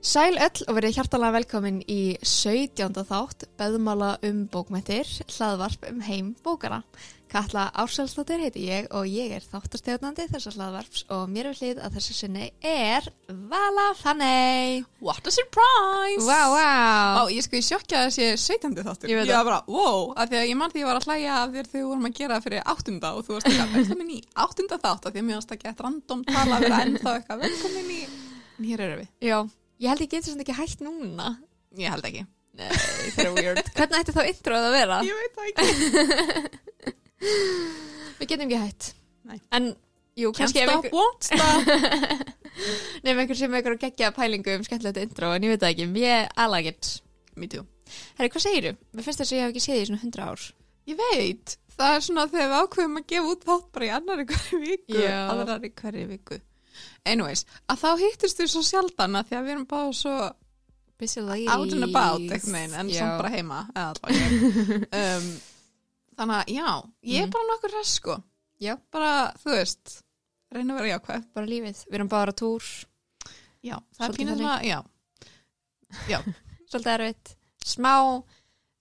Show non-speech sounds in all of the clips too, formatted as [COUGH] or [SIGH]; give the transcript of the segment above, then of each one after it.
Sæl öll og verið hjartalega velkomin í 17. þátt Beðmála um bókmættir, hlaðvarp um heim bókana. Katla Ársælsdóttir heiti ég og ég er þáttastjórnandi þessa hlaðvarps og mér við hlið að þessu sinni er Vala Fanney. What a surprise! Vá, vá. Ó, ég sko, ég sjokkja að það sé 17. þáttur. Ég veit Ég það. var bara, wow, af því að ég mann því ég var að hlæja af þér þegar við vorum að gera það fyrir áttunda og þú [LAUGHS] varst ekki að velkomin í áttunda þátt af því að mér varst ekki að random tala að vera ennþá eitthvað velkomin í... En hér eru við. Já, ég held ég getur svona ekki hægt núna. Ég held ekki. Nei, það er weird. Hvernig ætti þá introð að vera? [LAUGHS] ég veit það ekki. Við getum ekki hægt. Nei. En, jú, Can't kannski ef stop, einhver, won't stop. nefnir einhver sem einhver geggja pælingu um skemmtilegt intro, en ég veit það ekki, ég alveg get. Me too. Herri, hvað segiru? Mér finnst þess að ég hef ekki séð því svona 100 ár. Ég veit, það er svona þegar við ákveðum að gefa út þátt bara í annari hverju viku, Já. aðrari hverju viku. Anyways, að þá hittist við svo sjaldan að því að við erum báða svo Busy ladies. out and about, eitthvað meginn, en Já. samt bara heima, eða allavega. [LAUGHS] ég. um, þannig að, já, ég er Mhm. bara nokkur hress, sko. Já. Bara, þú veist, reyna að vera jákvæð. Bara lífið. Við erum bara á túr, Já, það Svolítið er pínir svona, já. svolítið erfitt. Smá,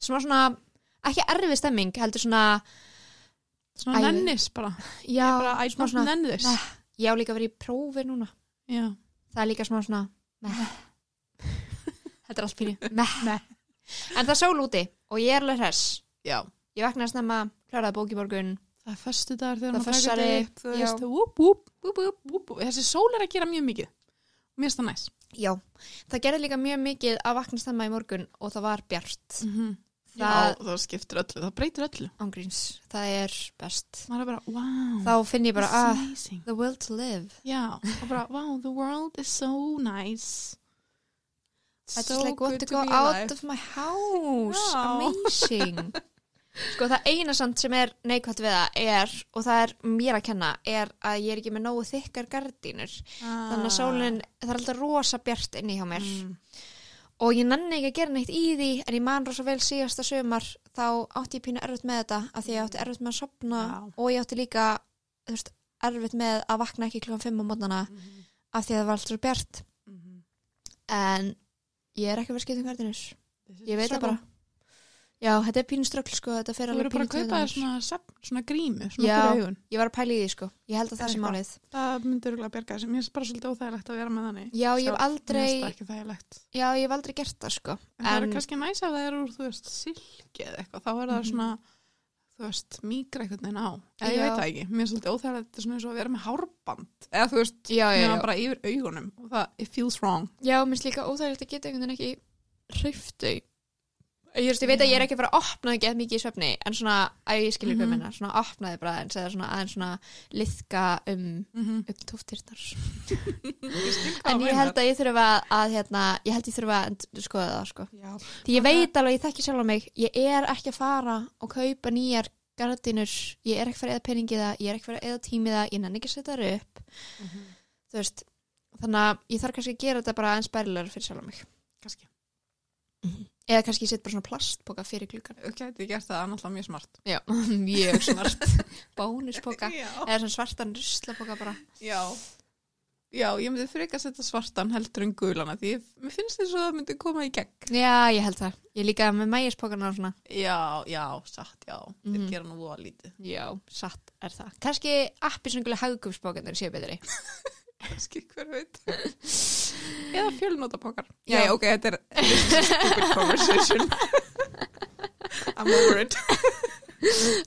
smá svona, ekki erfið stemming, heldur svona, Svona Æ, ég- nennis bara. já, ég er bara, I smá don't svona, nenn þess. Nei. ég á líka að vera í prófi núna. Já. Það er líka smá svona, meh. [LAUGHS] Þetta er allt pínu, [LAUGHS] meh. En það er sól úti og ég er alveg hress. já. Ég vaknaði snemma, kláraði bók í morgun. Það er föstu dagar Það þegar maður taka fössari, þetta upp, þú já. veist, wúp, wúp, wúp, wúp, wúp, wúp. Þessi sól er að gera mjög mikið. Mér finnst það næs. Já, það gerði líka mjög mikið að vakna snemma í morgun og það var bjart. Mm -hmm. Það- Já, það skiptir öllu, það breytir öllu. Ángríns, það er best. Maður er bara, wow, Þá finn ég bara, it's ah, amazing. Mm. the will to live. Já, og bara, wow, the world is so nice. I just like want to go out of my house Já. [LAUGHS] Amazing Sko það eina samt sem er neikvætt við það er og það er mér að kenna er að ég er ekki með nógu þykkar gardínur þannig að sólinn, það er alltaf rosa bjart inni hjá mér Mm. og ég nanni ekki að gera neitt í því en ég man rosa vel síðasta sömar þá átti ég pínu erfitt með þetta af því ég átti erfitt með að sopna Já. og ég átti líka þú veist, erfitt með að vakna ekki klukkan 5 á mótnana Mhm, af því að það var alltaf bjart mhm. en ég um er ekki verið skiptum gardínur This is Ég veit það struggle. bara. Já, þetta er pínu ströggl sko, þetta fer Þú alveg verður bara pínu að kaupa taugarnar. þér svona, svefn- svona grímu, svona Já. fyrir augun. Ég var að pæla í því sko, ég held að það Er sé eitthvað? málið. Það myndur örgulega að berga þessi. Mér finnst bara svolítið óþægilegt að vera með þannig. Já, ég hef Sjálf- Mér finnst aldrei, það ekki þægilegt. já, ég hef aldrei gert það sko. En það En- eru kannski næs ef það eru úr, þú veist, silki eða eitthvað, þá er það Mhm. svona, þú veist, mýgra einhvern veginn á. Eða ég Já. veit það ekki, mér er svolítið óþægilegt þetta er svona eins og að vera með hárband, eða þú veist, Já, já, nema já. bara yfir augunum og það, it feels wrong. Já, minnst líka óþægilegt að geta einhvern veginn ekki hreiftu. Ég, just, ég veit að ég er ekki að fara að opna það gett mikið í svefni, en svona, að ég skilur mm hvað Mhm. minna, svona opnaði bara aðeins, eða svona aðeins svona liðka um, Mm -hmm. um tóftirnar. En ég held að ég þurfa að, hérna, ég held ég þurfa að skoða það sko. Já, Því ég Og það- veit alveg, ég þekki sjálf á mig, ég er ekki að fara og kaupa nýjar gardinur, ég er ekki að fara eða peningi það, ég er ekki að fara eða tími það, ég nenni ekki að setja það upp, þú veist, þannig að ég þarf kannski að gera þetta bara eins bærilegur fyrir sjálf á mig. kannski. Eða kannski ég setja bara svona plastpoka fyrir klukkan. Þú gæti gert það, það er náttúrulega mjög smart. Já, [LAUGHS] mjög smart. [LAUGHS] Bónuspoka. Já. Eða svona svartan ruslapoka bara. Já. Já, ég myndi frekar setja svartan heldur en gulana, því ég, mér finnst þess að það myndi koma í gegn. Já, ég held það. Ég er líka með mægispokana og svona. Já, já, satt, já. Mhm. Þeir gera nú voða lítið. Já, satt er það. Kannski appi svona gulega haugumspokanir séu betri. Kanski hver veit. [LAUGHS] Eða fjölnótapokar. Já. Já, ok, þetta er this is stupid [LAUGHS] conversation. I'm over it.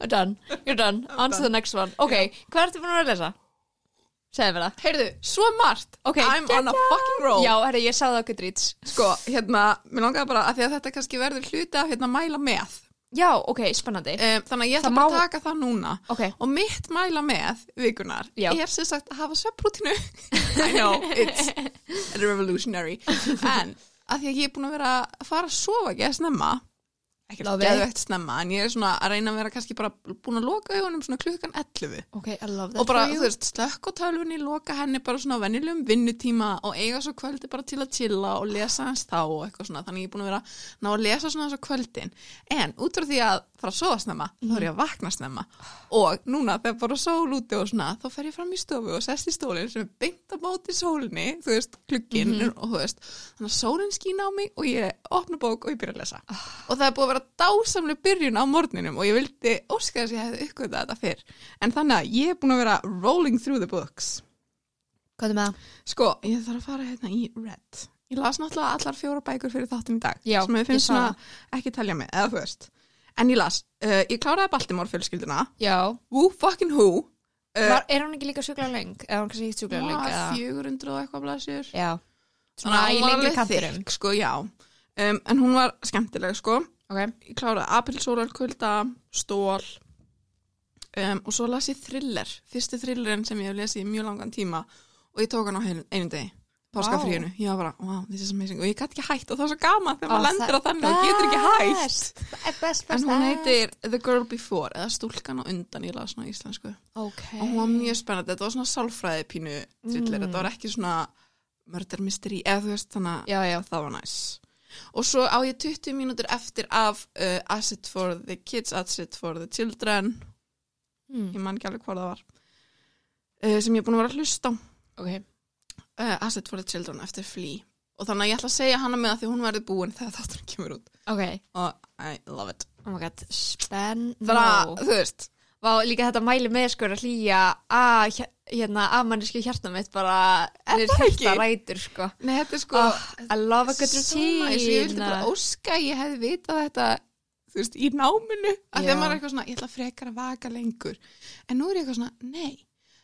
done, you're done, I'm on to done. the next one Ok, hvað ertu búin að vera að lesa? Segðu mér það Heyrðu, svo margt. Ok, I'm on a fucking roll. Já, herri, ég sagði það okkur drýts Sko, hérna, mér langaði bara að því að þetta kannski verður hluti af hérna mæla með. Já, ok, spennandi Um, þannig að ég ætla Það bara má- að taka það núna. Ok, Og mitt mæla með vikunar Já. er sem sagt að hafa svepprútinu. [LAUGHS] I know, it's revolutionary. En að því að ég er búin að vera að fara að sofa ekki að snemma, ekki Love geðveitt snemma en ég er svona að reyna að vera kannski bara búin að loka augunum svona klukkan 11 Ok, I love that og bara, for you. þú veist, slökk á tölvunni loka henni bara svona á venjulegum vinnutíma og eiga svo kvöldi bara til að chilla og lesa hans þá og eitthvað svona þannig ég er búin að vera að ná að lesa svona þessu kvöldin en út frá því að fara að sofa snemma þá er ég að vakna snemma og núna þegar bara sól úti og svona þá fer ég fram í stofu og sest í stólinn sem er beint á móti sólinni þú veist, klukkinn og þú veist þannig að sólinn skína á mig og ég opna bók og ég byrja að lesa og það er búið að vera dásamlega byrjun á morgninum og ég vildi óska þess að ég hefði ykkur þetta fyrr en þannig að ég er búin að vera rolling through the books Hvað er með það? sko, ég þarf að fara hérna í red ég las náttúrulega allar fjóra bækur fyrir þáttum í dag Já, sem ég ég finnst sá svona ekki telja mig eða þú veist en ég las, uh, ég kláraði Baltimore fjölskylduna Já who fucking who uh, Var, Er hún ekki líka sjúklega leng? Eða hún kannski ekki sjúklega leng? var eða- 400 og eitthvað blæsjur Já Svona í lengri kanturum sko, já um, en hún var skemmtileg sko Ok ég kláraði apilsólarkulda, stól um, og svo las ég thriller, fyrsti thrillerinn sem ég hef lesið í mjög langan tíma og ég tók hann á heil- einum degi, páskafríinu ég var bara, wow, this is amazing og ég gæti ekki hætt og það var svo gaman þegar maður lendur á þannig og getur ekki hætt Best, best, best en hún heitir The Girl Before eða Stúlkan á undan, ég las hann á íslensku Ok og hún var mjög spennandi, þetta var svona sálfræði pínu thriller, þetta var ekki svona murder mystery, eða þú veist þannig Já, já það var næs og svo á ég 20 mínútur eftir af uh, Asset for the Kids, Asset for the Children mm. ég man ekki alveg hvað það var uh, sem ég er búin að vera að hlusta á Ok uh, Asset for the Children eftir Flea og þannig að ég ætla að segja hana með að því hún verði búin þegar þátturinn kemur út Ok og I love it Oh my god, spenn bara, þú veist Vá, líka þetta mæli með sko að hlýja að hér- hérna, að mannesku hjarta mitt bara Er er það ekki? hjarta rætur sko Nei, þetta er sko oh, I love a good so nice. Ég vildi bara routine óska að ég hefði vitað þetta þú veist, í náminu Já. að þegar maður er eitthvað svona, ég ætla frekar að vaka lengur en nú er ég eitthvað svona, nei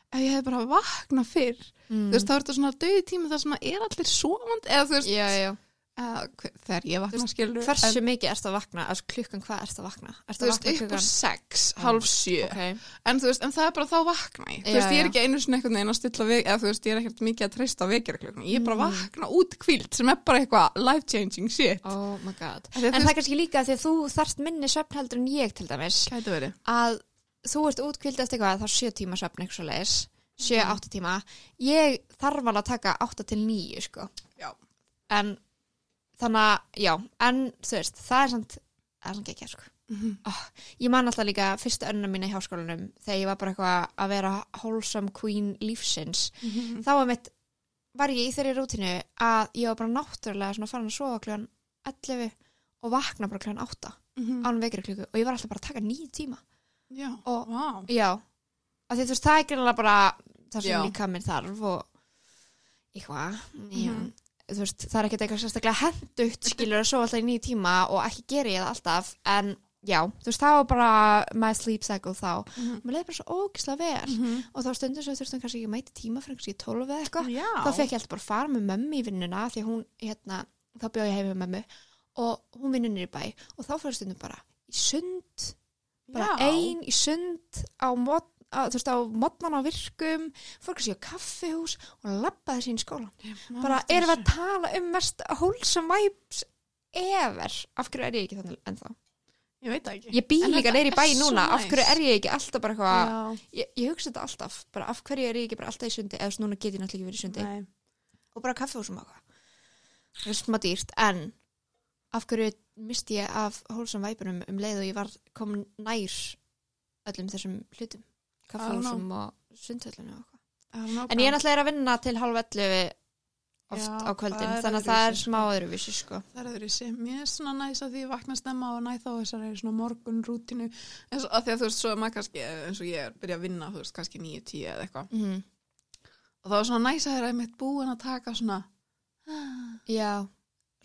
ef ég hefði bara vakna fyrr Mm. þú veist, þá er þetta svona döði tíma þar sem að er allir svovand eða þú veist, Já, já, eða, hver, þegar ég vakna skilur hversu mikið ert að vakna Alltså, klukkan hvað ert að vakna Ert þú að veist, vakna upp úr klukkan Mm. sex, hálf sjö okay. en þú veist, en það er bara þá vakna ég Já, þú veist, ég já. er ekki einu sinni einhvern veginn að stilla veg eða þú veist, ég er ekkert mikið að treysta vekjarklöknu ég er Mm. bara að vakna út kvíld sem er bara eitthvað life changing shit Oh my god Af því að En það þú veist- er kannski líka því að þú þarft minni svefn heldur en ég til dæmis Gæti verið. að þú ert útkvild eftir hvað þá 7 tíma svefn eitthvað leis Mhm. 7-8 tíma ég þarf alveg að taka 8-9 sko Já. en þannig að já, en þú veist það er samt, það er samt ekki sko Mhm. oh, ég man alltaf líka fyrstu önna mína í háskólanum þegar ég var bara eitthvað að vera wholesome queen lífsins Mhm, þá var mitt, var ég í þeirri rútinu að ég var bara náttúrulega svona farin að sofa kljóðan 11 og vakna bara kljóðan 8 Mhm. án vekri klíku og ég var alltaf bara að taka 9 tíma Já, Og- vá. Já, af því þú veist, það er greinlega bara það sem Já. líka minn þarf og eitthvað, já. Mhm. Þú veist, það er ekkert eitthvað sérstaklega hendugt skilur að sofa alltaf í nýju tíma og ekki gera ég það alltaf, en já, þú veist, það var bara my sleep cycle þá. Mhm. Mér leiði bara svo ógislega vel Mhm. og þá stundum svo þurftum kannski ekki að mæta í tíma fyrir kannski 12 eða eitthvað Já. þá fekk ég alltaf bara að fara með mömmu í vinnuna af því að hún, hérna, þá bjóð ég heim með mömmu og hún vinnur niður í bæ og þá fyrir stundum bara í sund bara Já. ein í sund á mót Að, þú veist, á modnan á virkum fór kannski á kaffihús og labbaði sín í skólan Man bara eftir erum við að þessu. tala um mest wholesome vibes ever af hverju er ég ekki þannig ennþá Ég veit það ekki. ég bý En líka þetta neyri í bæ er svo núna af næs. hverju er ég ekki alltaf bara eitthvað Já. ég, ég hugsa þetta alltaf, bara af hverju er ég ekki bara alltaf í sundi eða þú veist, núna get ég náttúrulega ekki verið í sundi Nei. og bara kaffehúsum og eitthvað það er smá dýrt en af hverju misti ég af hólsam væpunum um leið og ég var komin nær öllum þessum hlutum kaffehúsum og sundhöllunum og eitthvað en ég er náttúrulega að vinna til halv 11 oft Já, á kvöldin það er þannig að það er öðruvísi, smá öðruvísi sko Það er öðru sem. Mér er svona næs að því ég vakna stemma og næ þá þessari svona morgun rútinu. En svo að því að þú veist, svo er maður kannski, eh, eins og ég er byrja að vinna, þú veist, kannski 9-10 eða eitthvað. mm. Og það var svona næs að það er einmitt búin að taka svona, ah, já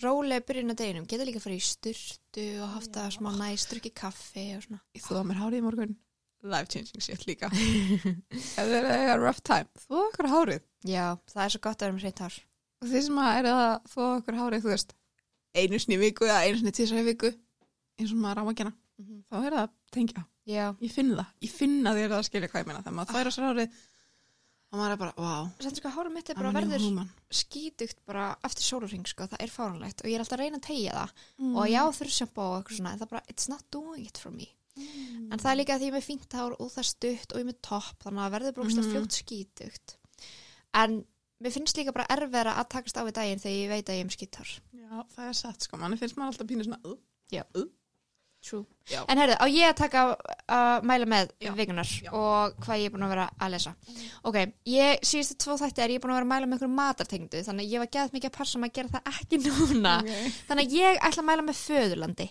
rólega byrjun á deginum, geta líka að fara í sturtu og haft það smá næst, drukki kaffi og svona ég þóða mér hárið í morgun. Life changing shit [LAUGHS] líka. Ef það er eitthvað rough time, þóða okkur hárið. já, það er svo gott að vera með hreitt hár og þeir sem að er að þó okkur hárið, þú veist, einu sinni í viku eða einu sinni tísar í viku, eins og maður á að gera, Mhm. þá er það að tengja. já, Ég finn það, ég finn að þið er það að skilja hvað ég meina þegar maður þværa sér hárið, ó, og maður er bara, vá, Sann sko, hárum mitt er I'm a bara new verður human. skítugt bara eftir sólurring, sko, það er fáranlegt og ég er alltaf að reyna að tegja það Mm. og já, þurr sjampo og eitthvað svona, en það bara, it's not doing it for me. En það er líka að því ég er með fínt hár og það er stutt og ég er með topp, þannig að það verður brúkst að Mhm. fljótt skítugt. En mér finnst líka bara erfera að takast á við daginn þegar ég veit að ég er með skítar. Já, það er satt sko, manni finnst maður alltaf pínu svona uh, True. Já. En herðu, á ég að taka að mæla með Já. vikunar Já. Mhm. og hvað ég er búin að vera að lesa. Ok, ég síðustu tvo þætti er ég búin að vera að mæla með einhverjum matartengdu, þannig að ég var geðað mikið að passa um að gera það ekki núna. Mhm. Þannig að ég ætla að mæla með föðurlandi.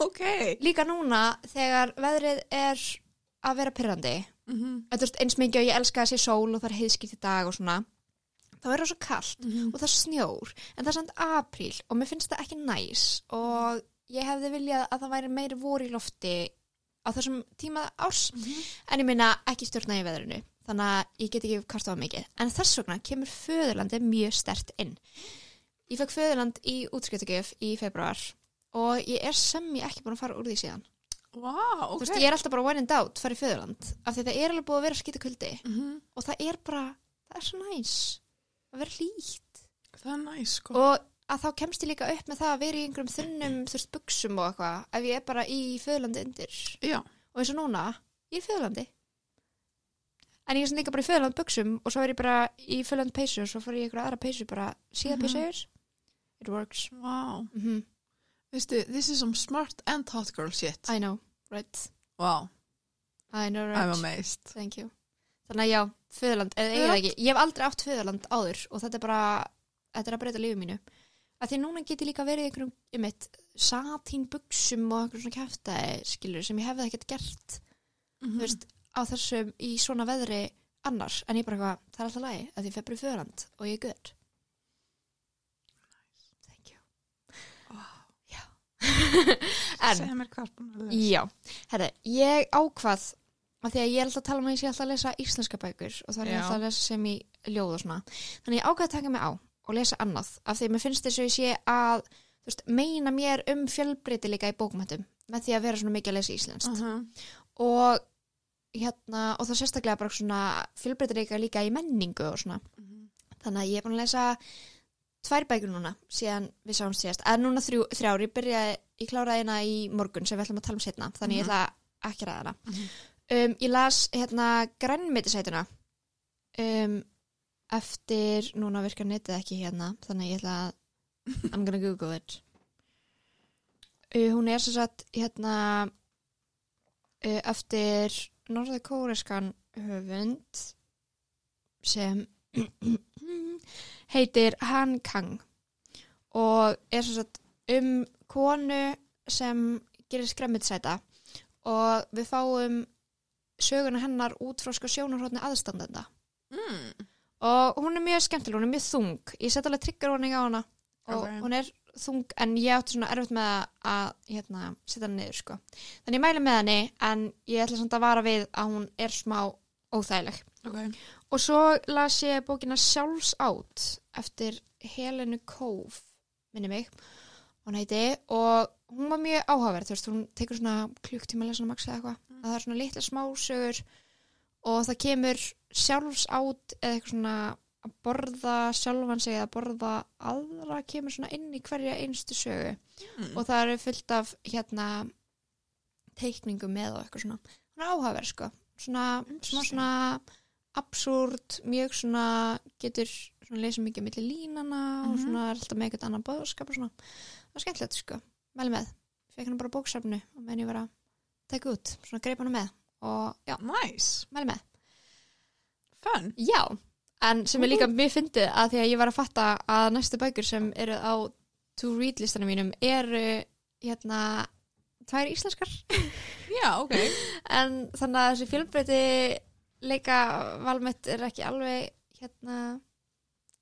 Ok Líka núna þegar veðrið er að vera pyrrandi, mm -hmm. þú veist eins mikið og ég elska þessi sól og það er heiðskipt í dag og svona, þá er það svo kallt Mhm. og það snjór, en það er samt apríl og mér finnst það ekki næs og ég hefði viljað að það væri meiri vor í lofti á þessum tíma árs, en ég minna ekki stjórna í veðrinu, þannig að ég get ekki kvartað á mikið, en þess vegna kemur föðurlandi mjög stert inn ég fekk föðurland í útskjötugjöf í februar og ég er sem ég ekki búin að fara úr því síðan Vá, þú ok veist, ég er alltaf bara one and out, farið föðurland af því að það er alveg búið að vera skýta kuldi Mhm. og það er bara, það er svo næs að vera hlýtt Það er næs sko og að þá kemst ég líka upp með það að vera í einhverjum þunnum, þú veist, buksum og eitthvað ef ég er bara í föðurlandi undir Já, og eins og núna, ég er í föðurlandi en ég er svona líka bara í föðurland buksum og svo er ég bara í föðurland peysu og svo fór ég í einhverja aðra peysu bara síða Mhm. peysu yfir it works vá mm -hmm. Veistu, this is some smart and hot girl shit I know, right Vá, I know, right I'm amazed Thank you. Þannig að já, föðurland, eða eiginlega ekki. Ég hef aldrei átt föðurland áður og þetta er bara, þetta er að breyta lífið mínu. Að því núna get ég líka verið í einhverjum, ég mitt, satín buksum og einhverjum svona kæftæði, skilur, sem ég hefði ekkert gert, mm þú veist, á þessum í svona veðri annars. En ég bara eitthvað, það er alltaf lagi, að ég febru föðurland og ég er good. Thank you. Já. [LAUGHS] en, Mhm. Segðu mér hvað er búin að lesa Já, herri, ég ákvað af því að ég er alltaf að tala um að ég sé alltaf að lesa íslenska bækur og þá er ég Já. alltaf að lesa sem í ljóð og svona. Þannig ég ákvað að taka mig á og lesa annað af því að mér finnst þess að ég sé að þú veist, meina mér um fjölbreytileika í bókmættum með því að vera svona mikið að lesa íslenskt Uh -huh. og hérna og þá sérstaklega bara svona fjölbreytileika líka í menningu og svona. Þannig að ég er búin að lesa tvær bækur núna síðan við sáum síðast, eða núna þrjú, þrjár, ég byrjaði, ég kláraði hérna í morgun sem við ætlum að tala um setna, þannig ég Mhm. ætla ekki að ræða hana. Mhm. Um, ég las hérna grænmetisætuna um, eftir, núna virkar netið ekki hérna, þannig ég ætla að I'm gonna google it. Uh, hún er sem sagt hérna uh, eftir norðakóreskan höfund sem heitir Han Kang og er sem sagt um konu sem gerir skremmitsæta og við fáum söguna hennar út frá sko sjónarhóðni aðstandenda mm. og hún er mjög skemmtileg, hún er mjög þung ég set alveg trigger warning á hana og Ok. hún er þung en ég átti svona erfitt með að hérna, setja hann niður sko þannig ég mæli með henni en ég ætla samt að vara við að hún er smá óþægileg Ok Og svo las ég bókina Sjálfs átt eftir Helenu Kóf, minni mig, hún heiti, og hún var mjög áhugaverð, þú veist, hún tekur svona klukktíma að lesa hana max eða eitthvað, að það er svona litla smásögur og það kemur sjálfs átt eða eitthvað svona að borða sjálfan sig eða borða aðra kemur svona inn í hverja einstu sögu Mm. og það eru fullt af hérna teikningum með og eitthvað svona hún er áhugaverð sko svona, smá Interesting. svona absúrt mjög svona getur svona lesa mikið millir línana og Mhm. svona er alltaf með eitthvað annan bóðskap og svona það var skemmtilegt sko, mæli með fekk hann bara á bóksafnu og meðan ég var að taka út, svona greip hann með og já, Nice, mæli með fun Já, en sem er líka Mhm. mjög fyndið að því að ég var að fatta að næstu bækur sem eru á to read listanum mínum eru hérna tvær íslenskar Já, ok en þannig að þessi fjölbreyti leika valmett er ekki alveg hérna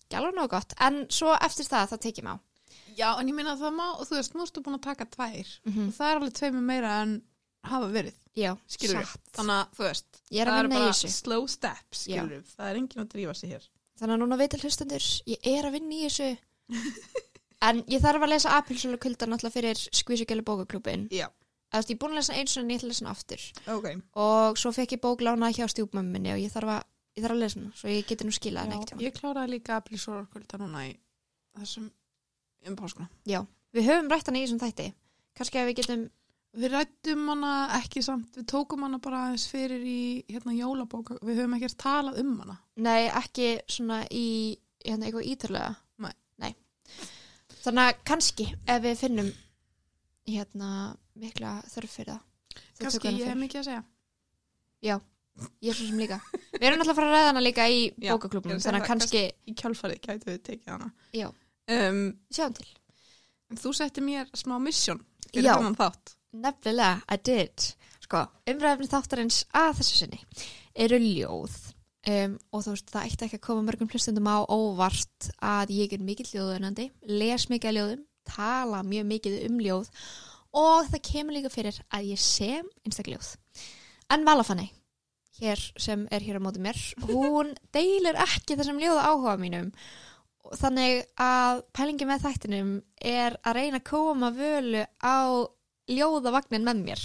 ekki alveg nóg gott en svo eftir það þá tekjum á Já, en ég minna að það má, þú veist, nú ertu búin að taka tvær mm -hmm. og það er alveg tveimur meira en hafa verið Já, Skilur við. satt. þannig að þú veist, Ég er það að eru vinna í bara þessu slow steps skilur við, það er enginn að drífa sig hér þannig að núna veit að hlustendur ég er að vinna í [LAUGHS] þessu en ég þarf að lesa apilsölu kulda náttúrulega fyrir skvísugjölu bókaklúbin Já, Þú veist, ég er búin að lesa eins og en ég ætla að lesa hann aftur ok og svo fekk ég bók lánað hjá stjúpmömminni og ég þarf að ég þarf að lesa hana, svo ég geti nú skilað hana ekkert. ég kláraði líka að bli sorgkvölda núna í þessum um páskuna. Við höfum rætt hana í þessum þætti. Kanski að við getum, Við rættum hana ekki samt, við tókum hana bara aðeins fyrir í hérna jólabóka, við höfum ekkert talað um hana. nei, ekki svona í, hérna, eitthvað ítarlega. Nei. Þannig að kannski ef við finnum, hérna, mikla þörf fyrir það. þá tökum við Kanski hana ég hef fyrir. mikið að segja. Ég er svo sem líka. Við erum alltaf að fara að ræða hana líka í Já, ég er bókaklubnum, að segja þannig að það, kannski, Í kjálfarið gætu við tekið hana. Já. Um, sjáum til. þú setti mér smá misjón fyrir Já. þennan þátt. Nefnilega, I did. Sko, umræðafni þáttarins að þessu sinni eru ljóð um, og þú veist, það eitt ekki að koma mörgum hlustundum á óvart að ég er mikill ljóðunandi, les mikið að ljóðum, tala mjög mikið um ljóð og það kemur líka fyrir að ég sem einstakljóð. En Valafanni, hér sem er hér á móti mér, hún deilir ekki þessum ljóða áhuga mínum þannig að pælingi með þættinum er að reyna að koma völu á ljóðavagnin með mér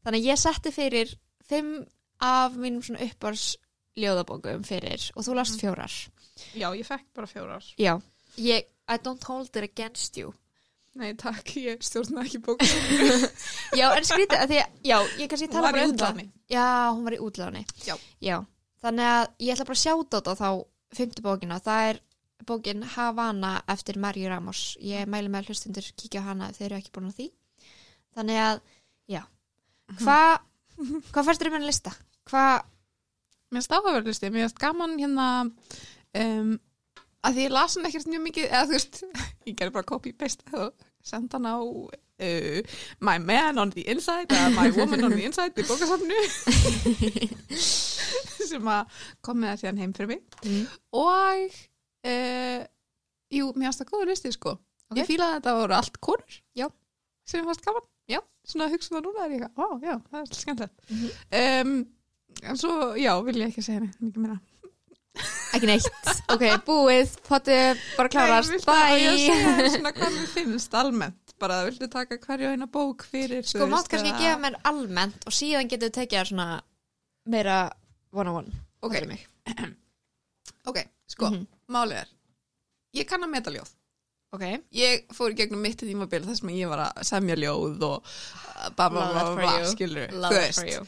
þannig að ég setti fyrir fimm af mínum svona uppárs ljóðabókum fyrir og þú Mhm. last fjórar Já, ég fekk bara fjórar. já, ég, I don't hold it against you Nei, takk, ég stjórna ekki bókun. já, en skrítið, að því að, já, ég kannski tala bara um það. útláni. Já, hún var í útláni. Já. Þannig að ég ætla bara að sjáta þetta þá fymtu bókina. Það er bókin Havana eftir Marju Ramos. Ég mæli með að hlustundur kíkja á hana ef þeir eru ekki búin að því. Þannig að, já. Mhm. Hva, hvað færstur um henni lista? Hvað, Mér finnst áhugaverðlisti, mér finnst gaman hérna um, að því ég las hann ekkert mjög mikið, eða þú veist, [LAUGHS] ég gerði bara copy-paste og senda hann á uh, My Man on the Inside eða My Woman on the Inside í bókasafnu [LAUGHS] sem að kom með það síðan heim fyrir mig Mm. og uh, jú, mér finnst það góður listi sko Ok. ég fílaði að þetta voru allt konur Já. sem mér fannst gaman Já. svona að hugsa um það núna er ég eitthvað, ó já, það er skemmtilegt Mhm. um, En svo, já, vil ég ekki segja neitt mikið meira. ekki [LAUGHS] neitt. ok, búið, potið, bara klárast. Bye. Bæ! [LAUGHS] Svona hvað mér finnst almennt. Bara viltu taka hverju eina bók fyrir. Sko, mátt kannski gefa mér almennt og síðan getur við tekið þær svona meira one-on-one. Ok, Fattar mig. [CLEARS THROAT] ok, sko, Mhm. málið er. Ég kann að meta ljóð. Ok. Ég fór í gegnum mitt tímabil þar sem ég var að semja ljóð og uh, bla bla Love bla that for bla, you. skilur. Love that for you.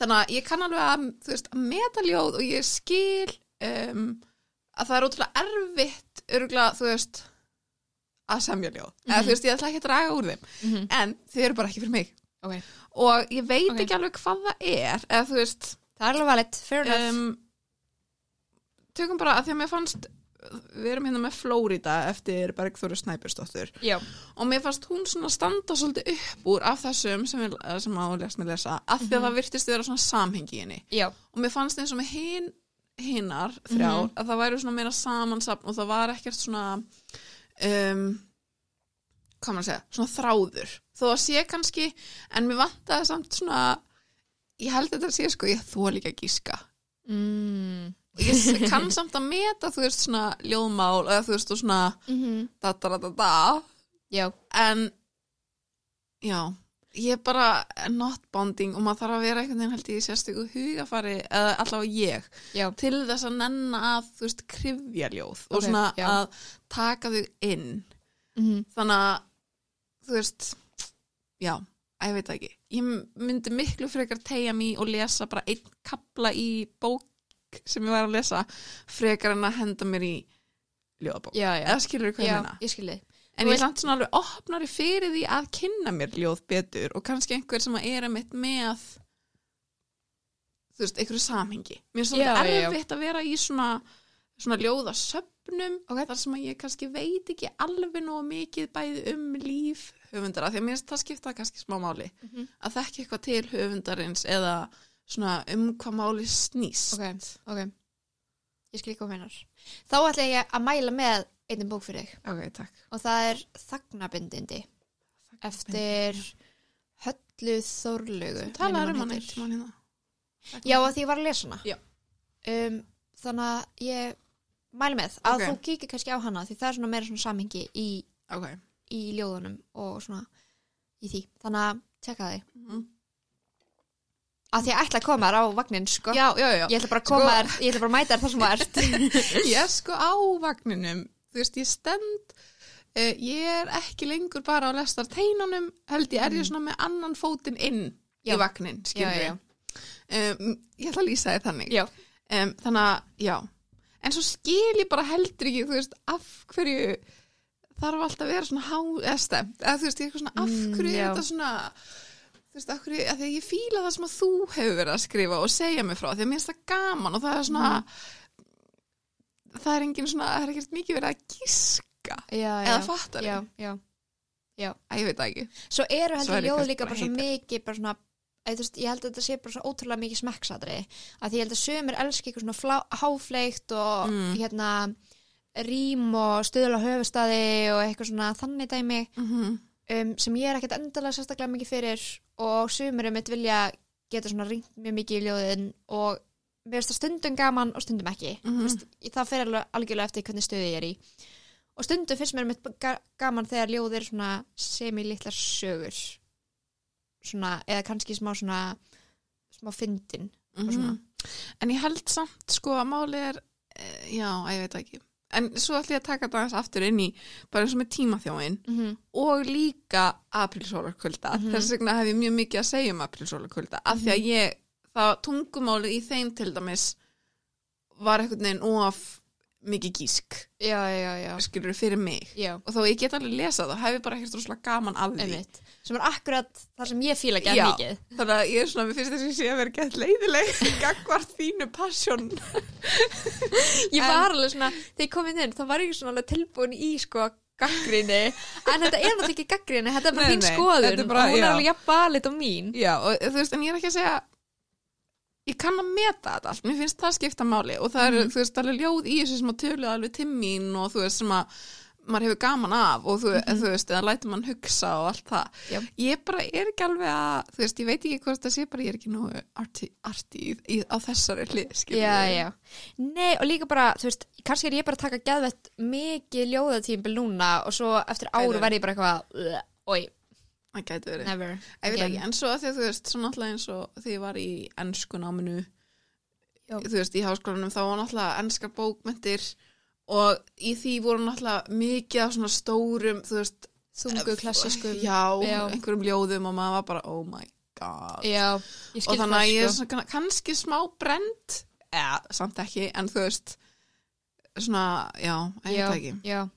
Þannig að ég kann alveg að, þú veist, að meta ljóð og ég skil um, að það er ótrúlega erfitt, örgulega, þú veist, að semja ljóð. Eða, Mhm. þú veist, ég ætla ekki að draga úr þeim. Mhm. En þau eru bara ekki fyrir mig. Ok. og ég veit Ok. ekki alveg hvað það er eða þú veist Það er alveg valid, fair enough. um, tökum bara að því að mér fannst við erum hérna með Flórida eftir Bergþóru Snæbjörnsdóttur já. og mér fannst hún svona standa svolítið upp úr af þessum sem, við, eh, sem að hún lest mér lesa af því að það virtist vera svona samhengi í henni Já. og mér fannst eins og með hin hinnar þrjár að það væri svona meira samansapn og það var ekkert svona um, hvað maður að segja, svona þráður þó að sé kannski, en mér vantaði samt svona, ég held þetta að sé sko, ég þó líka að gíska Mm. og ég s- kann samt að meta, þú veist, svona ljóðmál eða þú veist, og svona Mhm. da, da, da, da, da, Já. en já, ég er bara not bonding og maður þarf að vera einhvern veginn held ég í sérstöku hugafari eða allavega ég, Já. til þess að nenna að, þú veist, krifja ljóð og Ok, svona já. að taka þau inn Mm þannig að þú veist, já að ég veit það ekki, ég myndi miklu frekar tegja mig og lesa bara einn kapla í bók sem ég var að lesa frekar en að henda mér í ljóðabók, Já, já. eða skilur hvað Já, ég meina ég skil þið. en Þú ég veist- er samt svona alveg opnari fyrir því að kynna mér ljóð betur og kannski einhver sem er að mitt með þú veist, einhverju samhengi mér er Já, svolítið já, já. erfitt að vera í svona svona ljóðasöfnum okay. þar sem að ég kannski veit ekki alveg nóg mikið bæði um líf höfundara, því að mér finnst það skipta kannski smá máli Mhm. að þekki eitthvað til höfundarins eða svona um hvað máli snýst Ok, ok. Ég skil ekki hvað meinar. Þá ætla ég að mæla með einnum bók fyrir þig ok, takk og það er Þagnabindindi eftir Höllu Þorlugu. Þú talaðir minnir um hann eitt heitir. tímann hérna Já, að því ég var að lesa hana. Já. Um, þannig að ég mæla með að Ok. þú kíkir kannski á hana því það er svona meira svona samhengi í, ok, í ljóðunum og svona í því. Þannig að tjekka þig. Mhm. að því ég ætla að koma þér á vagnin sko. já, já, já ég ætla bara að koma Sko- þér, ég ætla bara að mæta þér þar sem þú ert [LAUGHS] ég er sko á vagninum þú veist, ég stend uh, ég er ekki lengur bara á lestar teinunum held ég er ég svona með annan fótinn inn Mm. Já. í vagnin, skilur Já, við já. Um, ég ætla að lýsa þið þannig já, um, þannig að, já en svo skil ég bara heldur ekki, þú veist, af hverju þarf alltaf að vera svona há, eða stemt, eða þú veist, ég er eitthvað svona af Mm, hverju er já. þetta svona þú veist, af hverju, af því að ég fíla það sem að þú hefur verið að skrifa og segja mig frá því að mér finnst það gaman og það er svona Mhm. það er engin svona, það er ekkert mikið verið að gíska já, já. eða fattar já, ég, já. að ég veit það ekki svo eru Svo er heldur ég ljóð kannski líka bara bara svo heitar. mikið bara svona Eð, veist, ég held að þetta sé bara svo ótrúlega mikið smekksadri að því ég held að sömur elski eitthvað svona flá, háfleikt og Mm. hérna rím og stuðla höfustadi og eitthvað svona þannig dæmi mm -hmm. um, sem ég er ekkert endalega sérstaklega mikið fyrir og sumurum mitt vilja geta svona ringt mjög mikið í ljóðin og mér finnst það stundum gaman og stundum ekki Mhm. Þú veist, ég- það fer alveg algjörlega eftir hvernig stuði ég er í og stundum finnst mér mitt gaman þegar ljóð er svona semi-litlar sögur svona, eða kannski smá svona smá fyndin og svona. Mhm. en ég held samt sko að máli er eh, já, að ég veit það ekki en svo ætlum ég að taka þetta aðeins aftur inn í bara eins og með tímaþjóin mm -hmm. og líka aprílsólarkvölda Mhm. þess vegna hef ég mjög mikið að segja um aprílsólarkvölda af því að ég, það tungumálið í þeim til dæmis var einhvern veginn of mikið gísk já, já, já, skilur fyrir mig já. og þó ég get alveg lesa það, hef ég bara ekkert rosalega gaman af því Einmitt. sem er akkurat það sem ég fíla ekki Já. að mikið þannig að ég er svona, mér finnst þess að ég sé að vera gett leiðileg [LAUGHS] gagvart þínu passion ég En- var alveg svona, þegar ég kom inn inn þá var ég svona alveg tilbúin í sko gaggrinni, en þetta er náttúrulega ekki gaggrinni þetta er bara Nei, þín nei, þetta skoðun er bara- og hún er já. alveg jafnvalit og mín Já, og þú veist, en ég er ekki að segja ég kann að meta þetta allt, mér finnst það skipta máli og það Mhm. eru, þú veist, alveg ljóð í þessu sem að tölu alveg til mín og þú veist, sem að maður hefur gaman af og þú, Mhm. þú veist, eða lætur mann hugsa og allt það Já. ég bara er ekki alveg að, þú veist, ég veit ekki hvort það sé bara, ég er ekki nógu arti, arti í, í, á þessari hlið, skilur já, við. já, nei og líka bara þú veist, kannski er ég bara að taka geðvett mikið ljóðatímbil núna og svo eftir áru Gæti verð ég bara eitthvað "Ugh, oj, það gæti verið never Ég veit again." ekki, en svo að því að þú veist, svo náttúrulega eins og því ég var í ennsku náminu, Já. þú veist, í háskólanum, þá var náttúrulega ennskar bókmyndir og í því voru náttúrulega mikið af svona stórum, þú veist, þungu klassísku já, Já. einhverjum ljóðum og maður var bara, oh my god. já, ég og skil þannig það að ég er sko svona, kann- kannski smá brend, eða, samt ekki, en þú veist, svona, já, ég veit já, það ekki. já,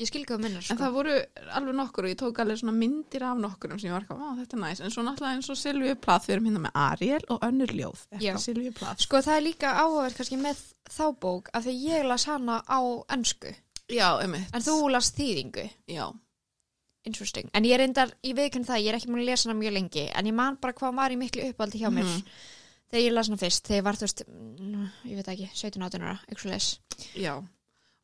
ég skil hvað minnar sko En það voru alveg nokkur og ég tók alveg svona myndir af nokkurum sem ég var ekki að, þetta er næs, en svo náttúrulega eins og Silvíu Plath, við erum hérna með Ariel og önnur ljóð Já. eftir Silvíu Plath. Sko það er líka áhugavert kannski með þá bók af því ég las hana á ennsku Já, einmitt. en þú las þýðingu Já, interesting, en ég reyndar, ég veikinn það ég er ekki múin að lesa hana mjög lengi en ég man bara hvað hún var í miklu uppaldi hjá mér Mhm. þegar ég las hana fyrst, þegar ég var þú veist mm, ég veit ekki, 17-18 ára, eitthvað leis já.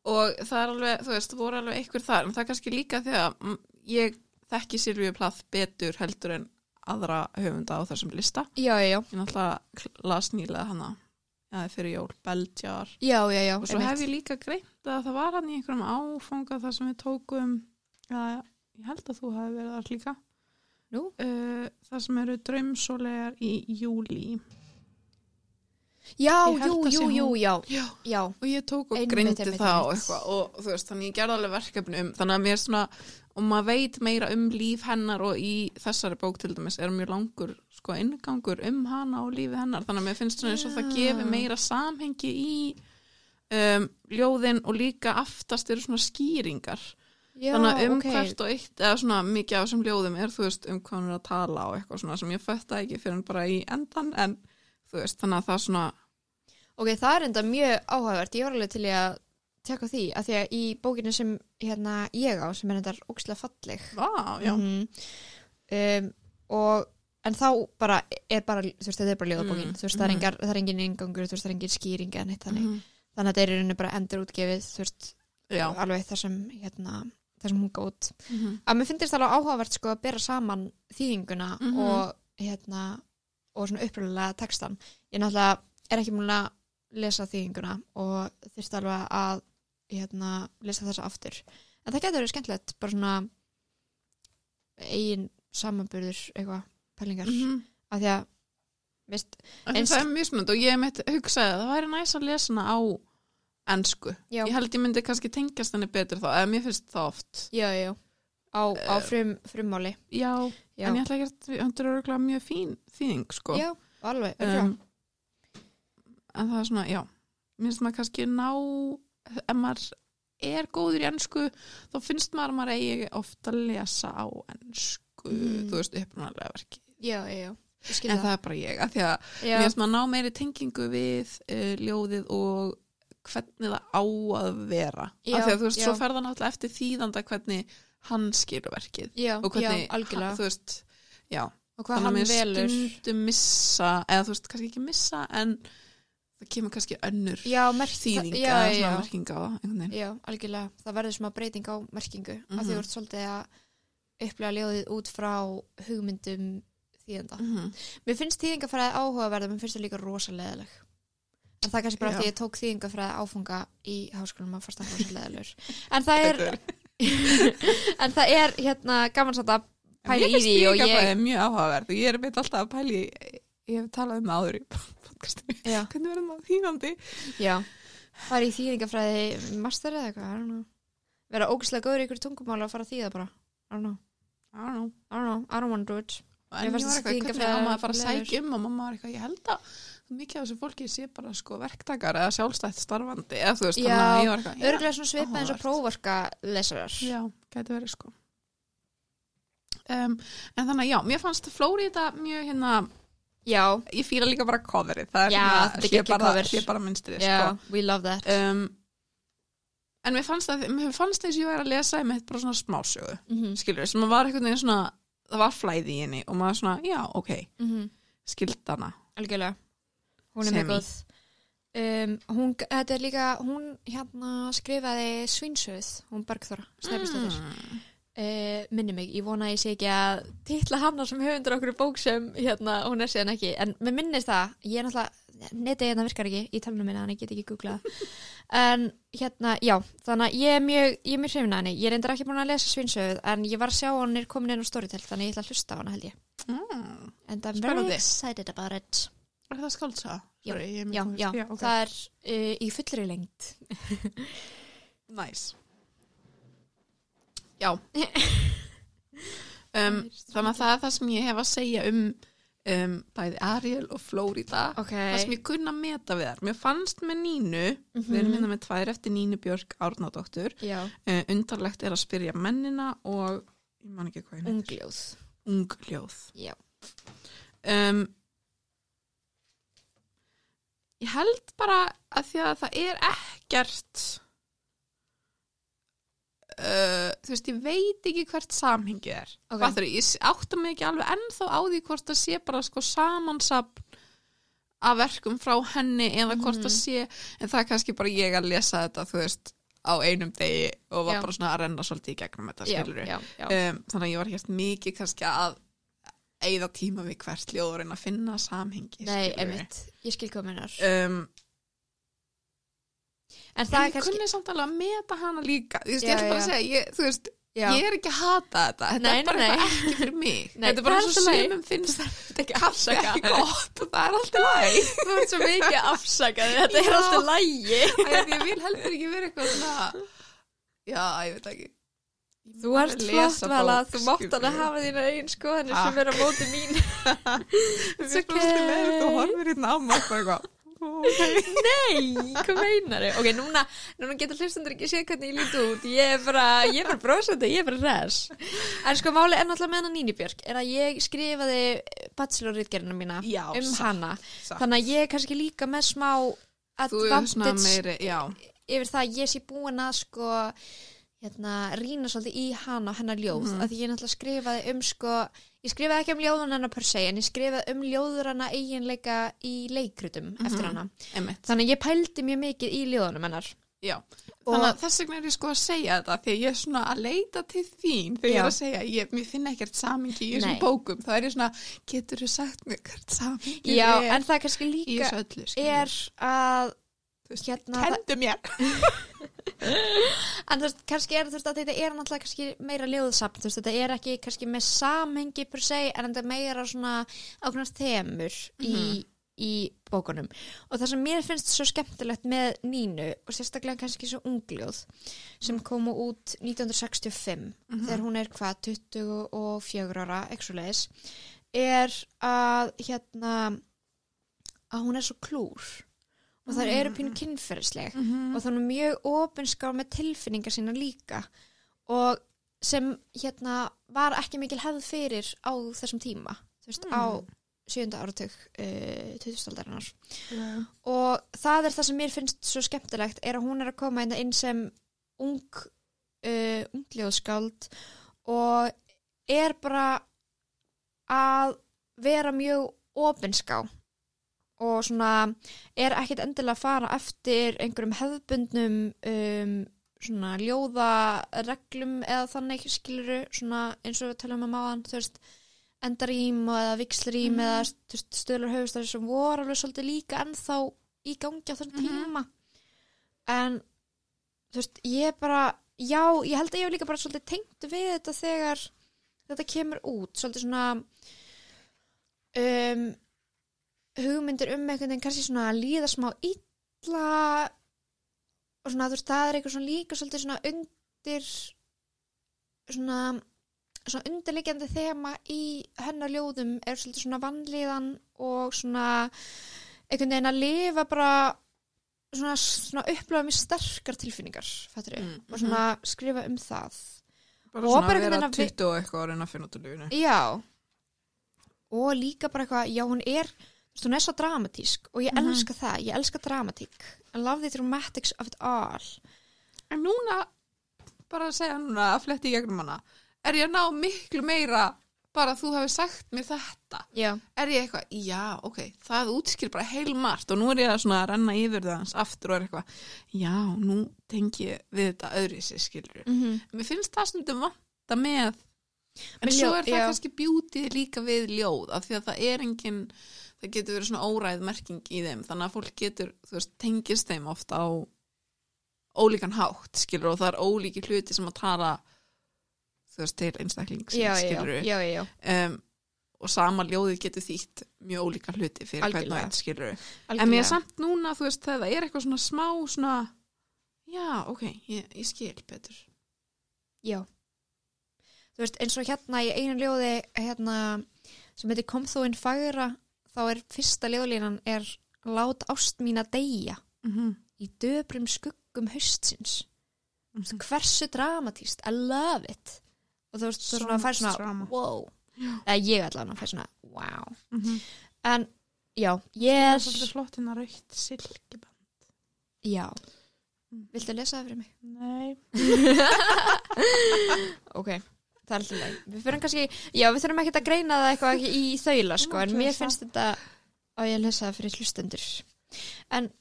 Og það er alveg, þú veist, voru alveg einhver þar, en það er kannski líka því að mm, ég þekki Silvíu Plath betur heldur en aðra höfunda á þessum lista. Já, já, já, Ég náttúrulega kl- las nýlega hana, já, fyrir jól, Belgjar. já, já, já Og svo hef ég líka greint að það var hann í einhverjum áfanga þar sem við tókum, já, ég held að þú hafi verið þar líka, Nú? uh, þar sem eru draumsólegar í júli. Já, Ég held jú, að sé jú, jú, hún. já, Já. já Og ég tók og Einmitt, greindi einmitt, það og einmitt. eitthvað og þú veist, þannig ég gerði alveg verkefni um, þannig að mér er svona, og maður veit meira um líf hennar og í þessari bók til dæmis er mjög langur, sko, inngangur um hana og lífi hennar, þannig að mér finnst svona eins og það Já. gefi meira samhengi í um, ljóðin og líka aftast eru svona skýringar. Já, þannig að um ok. hvert og eitt eða svona mikið af þessum ljóðum er þú veist um hvað hún er að tala og eitthvað svona sem ég fötta ekki fyrir hann bara í endan en þú veist þannig að það svona Ok, það er enda mjög áhugavert, ég var alveg til í að tjekka á því, af því að í bókinu sem hérna, ég á, sem er endar ókslega falleg vá, já, Mhm. um, og en þá bara er bara, þú veist, þetta er bara ljóðabókin Mm, þú veist, það er, mhm. engar, það er engin ingangur, þú veist, það er engin skýring eða neitt þannig, Mhm. þannig að þetta er í rauninu bara endurútgefið, þú veist, já. alveg þar sem hérna, þar sem hún gótt Mhm. að mér finnst alveg áhugavert sko að bera saman þýðinguna Mhm. og hérna og svona uppröðlega textan ég náttúrulega er ekki múin að lesa þýðinguna og þyrst alveg að hérna, lesa þessa aftur en það getur verið skemmtilegt bara svona eigin samanburður eitthvað, pælingar Mhm. af því að Vist, En Eins- það er mjög smönd og ég mitt hugsaði að það væri næs að lesa hana á ennsku. Já. Ég held ég myndi kannski tengjast henni betur þá, eða mér finnst það oft. já, já, á, á frum, frummáli. Já, Já, en Eh, ég ætla ekki að þetta er örgulega mjög fín þýðing, sko. já alveg, um, um, en það er svona, já mér finnst maður kannski ná ef maður er góður í ennsku þá finnst maður að maður eigi ofta að lesa á ennsku Mm. þú veist, upprunalega verki já, já, já, ég skil en það. það er bara ég, af því að Já, mér finnst maður ná meiri tengingu við uh, ljóðið og hvernig það á að vera Já, af því að þú veist, já. svo fer það náttúrulega eftir þýðanda hvernig hann skilur verkið já, og hvernig, já, algjörlega. þú veist, já og hvað hann að mér velur. stundum missa eða þú veist, kannski ekki missa en það kemur kannski önnur Já, merk, þýðing já, eða já, svona merkinga á það einhvern veginn. já, algjörlega. Það verður smá breyting á merkingu mm -hmm. að Mhm. þú ert svolítið að upplega ljóðið út frá hugmyndum þýðenda. Mhm. Mér finnst þýðingafræði áhugaverða, mér finnst það líka rosaleðileg. En það er kannski bara Já. því ég tók þýðingafræði áfunga í háskólanum að fórst það rosaleðilegur. En það er, en það er hérna gaman satt að pæla Mér í finnst því og líka ég... bara mjög áhugaverð og ég er mitt alltaf að pæli ég hef talað um það áður í [LAUGHS] podcastinu Já, hvernig verður maður þýðandi já. Það er í þýðingafræði master eða eitthvað, I don't know. Verða ógislega góður í ykkur tungumála og fara að þýða bara. I don't know, I don't know. I don't know, I don't want to do it. en Mér ég var fannst eitthvað, hvernig þýðingafræði á maður að fara að leiður. sækja um og mamma var eitthvað, ég held að mikið af þessu fólki sé bara sko verktakar eða sjálfstætt starfandi eða þú veist, Já, þannig að ég var eitthvað já, Örglega svona svipað eins og áhugavert. prófarka lesarar. Já, gæti verið sko um, En þannig að já, mér fannst Flórida mjög hérna Já, Ég fýla líka bara coverið Það er Já, hérna, þetta er sé geggjað bara, cover. sé bara minnstrið já, Eh, we love that. sko um, En mér fannst, að, mér fannst eins og ég var að lesa með bara svona smásögu Mhm, Skilur, sem maður var einhvern veginn svona Það var flæði í henni og maður svona, já, ok mhm. Skildana algjörlega hún er Sem mjög í. góð um, hún, þetta er líka, hún hérna skrifaði svinsöð hún Bergþóra, Snæfistóttir mm. mm. minni Eh, mig, ég vona að ég sé ekki að titla hana sem höfundur okkur í bók sem hérna, hún er síðan ekki, en mér minnist það ég er náttúrulega, netið hérna virkar ekki í talunum minna, þannig ég get ekki googlað en hérna, já, þannig að ég er mjög ég er mjög hrifin að henni, ég er reyndar ekki búin að lesa svinsöð, en ég var að sjá að hún er komin inn á storytel, þannig ég ætla að hlusta á hana held ég Mm. and I'm Spennandi. very excited about it Er það skaldsa? Já, Sorry, ég er mjög Mm. já, já, konfus. já okay. það er uh, í fullri lengt Næs. Já. [LAUGHS] um, þannig að það er það sem ég hef að segja um, um bæði Ariel og Flórida. ok, Það sem ég kunna að meta við þar. Mér fannst með Nínu, við erum hérna með tvær eftir Nínu Björk Árnadóttur. já, Uh, undarlegt er að spyrja mennina og, ég man ekki hvað ég nefnir, ungljóð ungljóð. Já. Um, ég held bara að því að það er ekkert uh, þú veist, ég veit ekki hvert samhengi er Ok. Fattur, ég s- átta mig ekki alveg ennþá á því hvort það sé bara sko samansapn af verkum frá henni eða Mhm. hvort það sé en það er kannski bara ég að lesa þetta þú veist, á einum degi og var Já. bara svona að renna svolítið í gegnum þetta já, skilurðu. já, já. um, þannig að ég var hérst mikið kannski að eigða tíma við hvert ljóð og reyna að finna samhengi nei, skilurðu. einmitt, ég skil hvað minnar um, en en það ég er kannski kunni samt alveg að meta hana líka þú veist, Já, ég ætla bara að já. segja ég, þú veist, já, ég er ekki að hata þetta þetta Nei, er bara nei, eitthvað ekki fyrir mig Nei, þetta er bara það er eins og allt í lagi. sumum finnst þetta ekki kaffi ekki gott og [LAUGHS] það er alltaf læg [LAUGHS] þú ert svo mikið afsakaði þetta Já. lægi ég vil heldur ekki vera eitthvað svona já, ég veit ekki Ég þú má ert alveg flott lesa vala, bók, þú mátt alveg skilurðu. Ah. hafa þína einn skoðanir Takk. sem er á móti mín [LAUGHS] Mér It's finnst bara svolítið leiðilegt okay. og horfir hérna á mig og bara eitthvað, "Ókei." nei, hvað meinar þau ok, núna, núna getur hlustendur ekki séð hvernig ég líti út ég er bara, ég er bara brósandi, ég er bara res en sko máli er náttúrulega með hana Nínu Björk er að ég skrifaði bachelorritgerina mína Já, um satt, hana satt. þannig að ég er kannski líka með smá Þú er svona advantage meiri, já, yfir það að ég sé búin að sko hérna, rýna svolítið í hana og hennar ljóð, Mhm. af því ég náttúrulega skrifaði um sko, ég skrifaði ekki um ljóðun hennar per se, en ég skrifaði um ljóður hennar eiginleika í leikrutum Mhm. eftir hana emitt þannig að ég pældi mjög mikið í ljóðunum hennar Já, Og- þannig að þess vegna er ég sko að segja þetta því að ég er svona að leita til þín þegar ég Já. er að segja, ég, mér finna ekkert samingi í þessum Nei. bókum, þá er ég svona getur þú sagt mér hvert samingi já, er en það kannski í líka þessu öllu, skilur er að Þú veist, hérna, það, kendu mér En þú veist, kannski er þú veist að þetta er náttúrulega kannski meira ljóðsapn, þú veist, þetta er ekki kannski með samhengi per se, en þetta er meira svona ákveðnar þemur í, í bókunum. Og það sem mér finnst svo skemmtilegt með Nínu, og sérstaklega kannski svo ungljóð, sem komu út 1965, þegar hún er hvað, 24 ára, ekki svo leiðis, er að hérna, að hún er svo klúr og það eru pínu kynferðisleg og þannig mjög opinská með tilfinningar sína líka og sem hérna var ekki mikil hefð fyrir á þessum tíma þú veist, á sjönda áratug uh, 2000 aldarinnar og það er það sem mér finnst svo skemmtilegt er að hún er að koma hérna inn sem ung uh, ungljóðskáld og er bara að vera mjög opinská og svona er ekkit endilega að fara eftir einhverjum hefðbundnum um, svona ljóðareglum eða þannig skiluru svona eins og við talum um áðan þú veist endarím og eða vikslrím eða þú veist, stöðlur höfustari sem voru alveg svolítið líka ennþá í gangi á þessum Mhm. tíma en þú veist, ég bara já, ég held að ég hef líka bara svolítið tengt við þetta þegar þetta kemur út svolítið svona um, hugmyndir um einhvern veginn kannski svona að líða smá illa og svona þú veist það er eitthvað svona líka svolítið svona undir svona svona undirliggjandi þema í hennar ljóðum er svolítið svona vannlíðan og svona einhvern veginn að lifa bara svona, svona upplöfa mjög sterkar tilfinningar fattur Mm, og svona skrifa um það Bara Og svona bara að einhvern vera veginn að vi- 20 og eitthvað að reyna að finna út úr lífinu. Já og líka bara eitthvað, já hún er þú veist, hún er svo dramatísk og ég Mhm. elska það, ég elska dramatík I love the dramatics of it all En núna, bara að segja núna að fletti í gegnum hana, er ég að ná miklu meira bara að þú hefur sagt mér þetta. Já, Er ég eitthvað, já, ok, það útskýr bara heilmargt og nú er ég að svona að renna yfir það hans aftur og er eitthvað, já, nú tengi ég við þetta öðru sér skilur. mm -hmm. Mér finnst það stundum vanta með, en Með svo ljó- er það já. kannski bjútið líka við ljóð, af því að það er engin, það getur verið svona óræð merking í þeim, þannig að fólk getur, þú veist, tengist þeim ofta á ólíkan hátt, skilur, og það er ólíki hluti sem að tala, þú veist, til einstaklings, já, já, skilur já, já, já, um, og sama ljóðið getur þýtt mjög ólíka hluti fyrir hvern og Algjörlega. einn skilur en ég algjörlega er samt núna, þú veist, þegar það er eitthvað svona smá svona, já, ok ég, ég skil betur Já Þú veist, eins og hérna í einu ljóði hérna, sem heitir Kom þú inn fagra þá er fyrsta ljóðlínan er Lát ást mína deyja mm -hmm. í döbrum skuggum haustsins Mhm. hversu dramatíst, I love it og þú veist, þú So svona fær much svona drama. wow, Já. eða ég allan að fær svona wow, Mm -hmm. en já, það er yes svolítið flott hérna raukt silkiband já, Mm. viltu lesa það fyrir mig? nei, ok, það er alltaf leið við fyrir kannski, já, við þurfum ekki að greina það eitthvað ekki í þaula, sko, en Mátti mér lesa. finnst þetta að ég að lesa það fyrir hlustendur það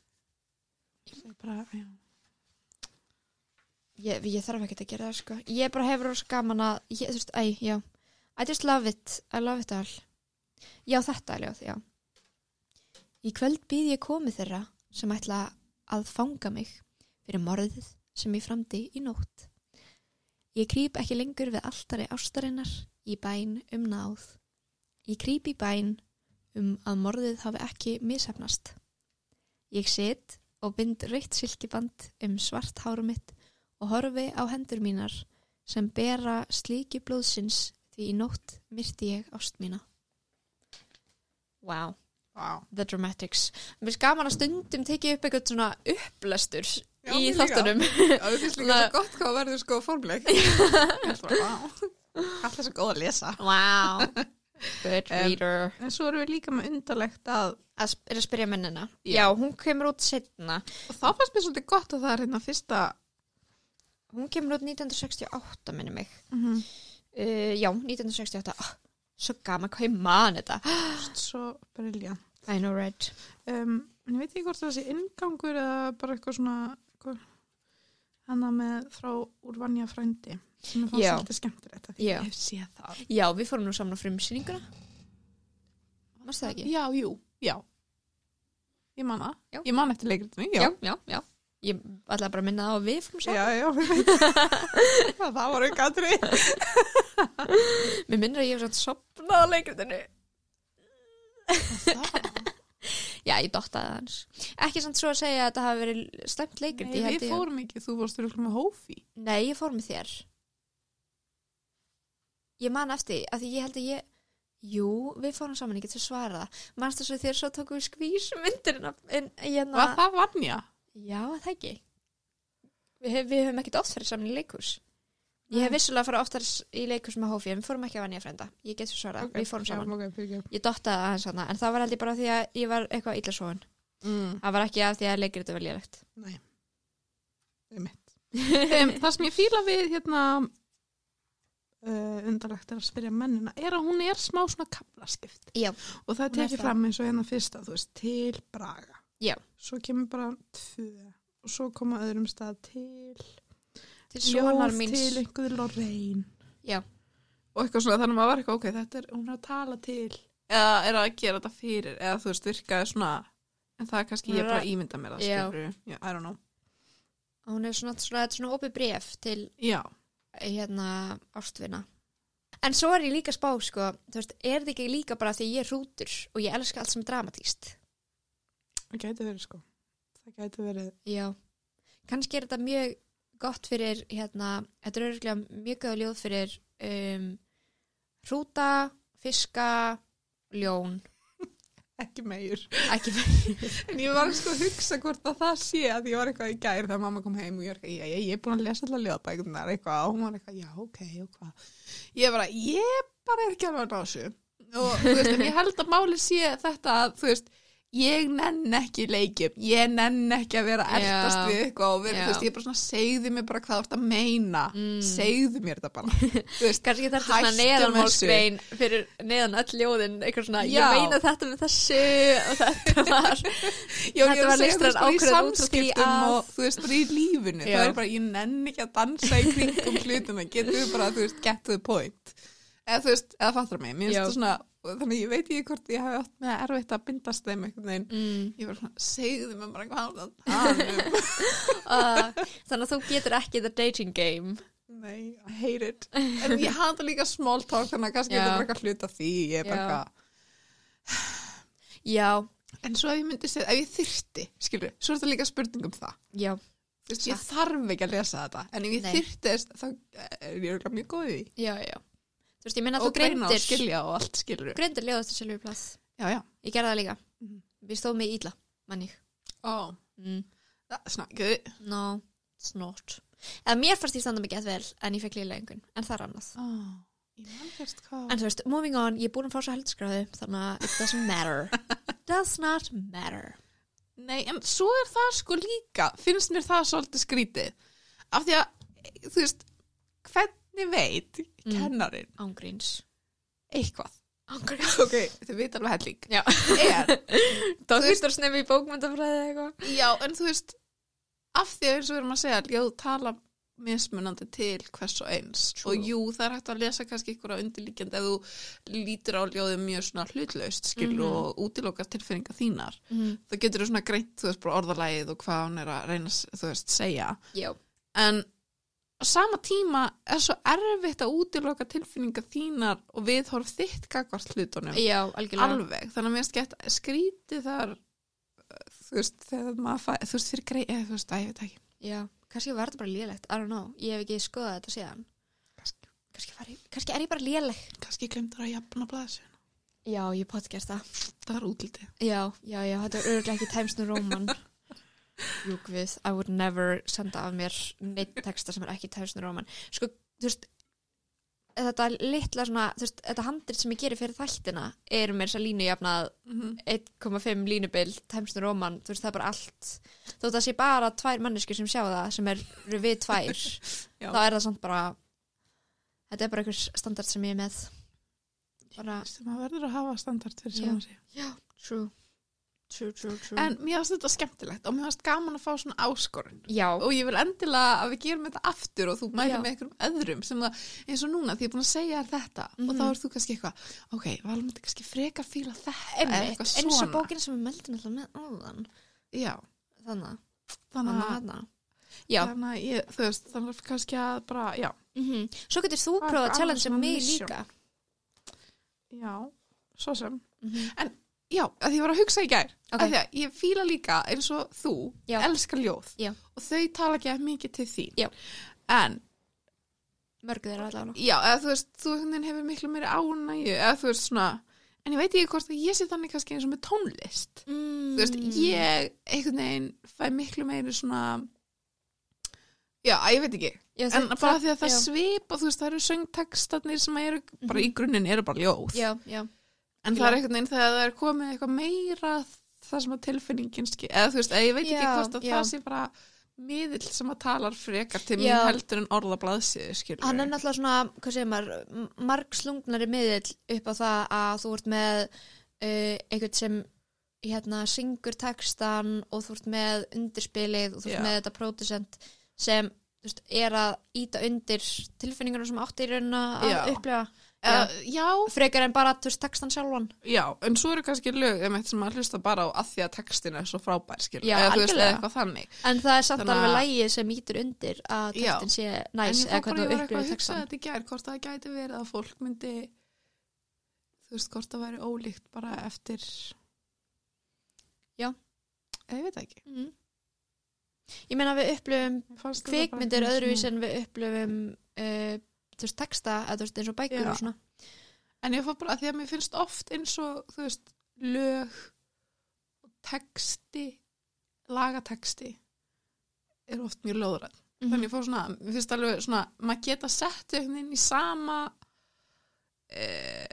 er bara já. ég, ég þarf ekki að gera það, sko ég bara hefur rosa gaman að, ég, þú veist, æ, já I just love it, I love it all Já, þetta er ljóð, já Í kvöld býð ég komið þeirra sem ætla að fanga mig fyrir morðið sem ég framdi í nótt. Ég krýp ekki lengur við altari ástarinnar í bæn um náð. Ég krýp í bæn um að morðið hafi ekki mishefnast. Ég sit og bind rautt silkiband um svart hárum mitt og horfi á hendur mínar sem bera slíki blóðsins því í nótt myrti ég ást mína. Wow. Wow. The Dramatics. Mér finnst gaman að stundum tekið upp eitthvað svona upplestur Já, í mér líka. þáttunum. Já, það finnst líka Svona- svo gott hvað verður sko formleg alltaf svo góð að lesa Wow. Good Em, reader. en svo erum við líka með undarlegt að að sp er að spyrja mennina. Já. Já, hún kemur út setna. og þá fannst mér svolítið gott að það er hérna fyrsta Hún kemur út 1968, minni mig. mm -hmm. Uh, já, 1968. Oh, svo gaman hvað ég man þetta. svo briljant I know red. um, en ég veit ekki hvort það sé inngangur eða bara eitthvað svona eitthvað, hana með frá úr vanja frændi sem ég fannst Já. alltaf skemmtilegt að því Já. ég hef séð það Já, við fórum nú saman á frumsýninguna. Varst það ekki? já, jú, já ég man það, Já. ég man eftir leikritinu já. já, já. ég ætla bara að minna það á að við fórum saman. Já, [LAUGHS] já, við veitum. það það var auka atrið. Mér minnir að ég hef svona sopnað á leikritinu. Já, ég dottaði það hans. Ekki samt svo að segja að þetta hafi verið stemt leikrit. Nei, ég held við ég- fórum ekki, þú fórst rúkla með hófi. Nei, ég fór með þér. Ég man eftir, því, af því ég held að ég... Jú, við fórum saman, ég getur svarað það. Manst þess að þér svo tókum við skvísmyndirinn af- en hérna... Var það vannja? Já, er það ekki. Við, hef, við höfum ekkert oft farið saman í leikurs. Ég hef Nei. vissulega farið oftar í leikurs með hófi, en við fórum ekki að vannja frenda. Ég getur svarað, við fórum saman. Já, ok, fyrirgefðu. Ég dottaði aðeins hana, en það var held ég bara því að ég var eitthvað illa svoðan. Mm. Það var ekki að því að leikritu var lélegt. Nei, það er mitt. um, það sem ég fýla við hérna uh, undarlegt er að spyrja mennina er að hún er smá svona kaplaskipt Já. og Hún það er tekið það. fram eins og hérna fyrsta þú veist, til Braga Já. svo kemur bara tvö og svo koma öðrum stað til Til ljóð svonar míns. til einhverju Lorraine Já. og eitthvað svona þannig að maður var eitthvað ok, þetta er, hún er að tala til eða er að gera þetta fyrir eða þú veist, virkaði svona en það er kannski Hún ég er bara að- að ímynda mér það Já. skilur, já, I don't know Hún er svona, svona, þetta er svona opið bref til já, hérna ástvina. En svo er ég líka að spá, sko, þú veist, er þetta ekki líka bara því ég er rútur og ég elska allt sem er dramatíst? Það gæti verið sko. Það gæti verið. Já. Kannski er þetta mjög gott fyrir, hérna, þetta er örgulega mjög góða ljóð fyrir um, rúta, fiska, ljón, Ekki meir. ekki En ég var sko að hugsa hvort að það sé að ég var eitthvað í gær þegar mamma kom heim og ég var eitthvað, ég, ég er búin að lesa alltaf ljóðbækurnar eitthvað og hún var eitthvað, já, ok, og hvað. Ég bara, ég bara er ekki alveg að ná þessu. Og þú veist, en ég held að máli sé þetta að, þú veist, ég nenn ekki í leikjum, ég nenn ekki að vera að ertast Já. við eitthvað og vera, Já. þú veist, ég er bara svona, segðu mér bara hvað þú ert að meina, Mm. segðu mér þetta [LAUGHS] bara, þú veist, [LAUGHS] Kannski þarf þetta svona Hættum neðanmálsgrein fyrir neðan öll ljóðin, eitthvað svona, Já. ég meina þetta með þessu og [LAUGHS] þetta var, Já, Þetta var ég er að segja þú listræn veist bara í ákvörðun út frá því samskiptum að- og þú veist bara í lífinu Já. það er bara, ég nenni ekki að dansa í kringum hlutina, getur við bara, þú veist, get to the point eða þú veist, eða fattar mig mér finnst Já. það svona, og þannig ég veit ekki hvort ég hafi átt með erfitt að bindast þeim einhvern veginn mm. [LAUGHS] ég var svona, segðu mér bara hvað hann tala um uh, þannig að þú getur ekki the dating game. nei, I hate it en ég hata líka small talk þannig að Já. kannski þetta er bara eitthvað hluta því ég er bara Já. eitthvað Já, en svo ef ég myndi segja, ef ég þyrti skilur, svo er þetta líka spurning um það já. Þú veist, ég þarf ekki að lesa þetta en ef ég Nei. þyrtist þá er ég örugglega mjög góð í því Já, já. Þú veist, ég minna að og þú greina og grindir, skilja og allt skilur já, grindir ljóðast til Silvíu Plath. já, Ég gerði það líka. Mhm. Við stóðum mig ítla, mann ég. ó, Mm. það snakkuði No, snort. Eða mér fannst ég standa mig gett vel, en ég fekk líla einhvern, en það er annað. ó, ég mannfjast hvað En þú veist, moving on, ég er búin að fá svo heldsgráðu, þannig að it doesn't matter. [LAUGHS] Does not matter. nei, en svo er það sko líka finnst mér það svolítið skrítið af því að, þú veist hvernig veit kennarin Ángríns. eitthvað [LAUGHS] Ángríns. ok, þau veit alveg helling Já. er, Dóttistur snemi í bókmyndafræði eða eitthvað. já, en þú veist af því að eins og við erum að segja ljóð tala mismunandi til hvers og eins True. og jú, það er hægt að lesa kannski ykkur á undirlíkjandi ef þú lítur á ljóðið mjög svona hlutlaust skil Mhm. og útilokar tilfinningar þínar Mm. þá getur þú svona greint, þú veist, bara orðalagið og hvað hún er að reyna, að s- þú veist, segja Já. en á sama tíma er svo erfitt að útiloka tilfinningar þínar og viðhorf þitt gagvart hlutunum Já, algjörlega. alveg, þannig að mér finnst gett skrítið þar þú veist, þegar maður fæ, þú veist, fyrir greið, eða þú veist, að ég veit ekki Já, kannski var þetta bara lélegt, I don't know, ég hef ekki skoðað þetta síðan. kannski, Kannski, var ég, kannski er ég bara léleg. kannski glemdur að jafna blaðsinn Já, ég pott gert það. það var útlitið Já, já, já, þetta er örgulega ekki Times New [LAUGHS] Roman. Júk við, I would never senda af mér neitt texta sem er ekki Times New Roman. Sko, þú veist, þetta litla svona, þú veist, þetta handrit sem ég gerir fyrir þættina er mér þess að línu jafnað mm -hmm. 1,5 línubil Times New Roman, þú veist, það er bara allt. Þó það sé bara tvær manneskur sem sjá það, sem eru við [LAUGHS] tvær. Já. þá er það samt bara þetta er bara einhver standard sem ég er með bara sem maður verður að hafa standart fyrir Já. Mm. sjálfum sér true, true, true, true. en mér finnst þetta skemmtilegt og mér finnst gaman að fá svona áskorun já, og ég vil endilega að við gerum þetta aftur og þú mælir Já. með einhverjum öðrum sem það, eins og núna því ég er búin að segja þér þetta og Mhm. þá er þú kannski eitthvað, ok, valum þetta kannski frekar fíla þetta eða einmitt, eitthvað eins og svona bókin sem við meldum alltaf með áðan Já, þannig, þannig að, hana. Já, þannig að ég, þú veist, þannig að kannski að bara, já, mm svo getur þú Það er prófað bara að challenge annars mig mission. líka. já, svo sem Mm já, að því ég var að hugsa í gær Ok. að því að ég fíla líka eins og þú Já. elska ljóð Já. og þau tala ekki að mikið til þín Já. en, Mörg þeirra allavega. já, eða þú veist þú einhvern veginn hefur miklu meiri ánægju eða þú veist svona, en ég veit ekki hvort að ég sé þannig kannski eins og með tónlist Mm. þú veist, ég einhvern veginn fæ miklu meiri svona já, að ég veit ekki Já, en það- bara því að það já. Mhm. svipa, þú veist, það eru söngtekstarnir sem eru, bara í grunninn eru bara ljóð Já, já. en það er einhvern veginn þegar það er komið eitthvað meira það sem að tilfinningin skil eða þú veist, að ég veit ekki Já, hvort að já. það sé bara miðill sem að talar frekar til mín Já. heldur en orðablaðsið skilur Hann er náttúrulega svona, hvað segir maður, m- margslungnari miðill upp á það að þú ert með uh, einhvern sem hérna syngur textan og þú ert með undirspilið og þú ert Já. með þetta pródusent sem þú veist, er að íta undir tilfinningarna sem átti í raunina að Já. upplifa Eða, já, frekar en bara þú veist textan sjálfan já, en svo eru kannski lög um eitt sem maður hlusta bara á að því að textin er svo frábær skilur Já, eða þú veist, eða algjörlega. eitthvað þannig en það er samt Þannig að- alveg lægið sem ítur undir að Já. textin sé næs en eða ég fór bara, hvernig ég þú var upplifir eitthvað að hugsa textan þetta í gær hvort það gæti verið að fólk myndi þú veist, hvort það væri ólíkt bara eftir Já. eða ég veit það ekki mm. Ég meina við upplifum Mér fannst þetta bara kvikmyndir eitthvað öðruvísi svona- en við upplöfum uh, þú veist texta eða þú veist eins og bækur Já. og svona En ég fór bara að því að mér finnst oft eins og, þú veist, lög og texti, lagatexti er oft mjög lóðrætt. Mhm. Þannig ég fór svona, mér finnst alveg svona, maður geta sett einhvern veginn í sama e,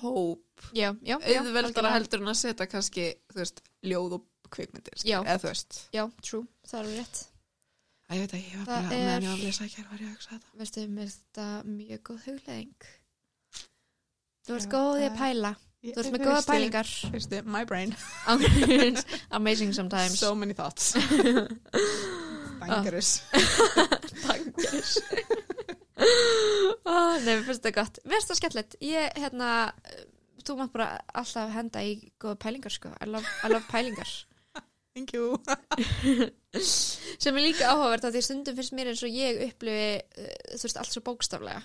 hóp, já, já, já, auðveldara algjörlega. heldur en að setja kannski, þú veist, ljóð og kvikmyndir, skilur, Já. eða þú veist. já, true, það er alveg rétt Æ, ég veit ekki, ég var Það bara, meðan er- ég var að lesa ekki, var ég að hugsa þetta. veistu, mér er þetta mjög góð hugleðing þú ert Já, góð í að það er- pæla Ég- þú ert með góða Fyrsti- pælingar [LAUGHS] Fyrsti, my brain, Ángríns. amazing sometimes so many thoughts. [LAUGHS] Dangerous. tankis oh, Nei, mér finnst það gott Mér finnst það skemmtilegt Ég, hérna, eh, þú mátt bara alltaf henda í góða pælingar sko I love, I love pælingar Thank you. sem er líka áhugavert að því stundum finnst mér eins og ég upplifi uh, þú veist, allt svo bókstaflega Æ,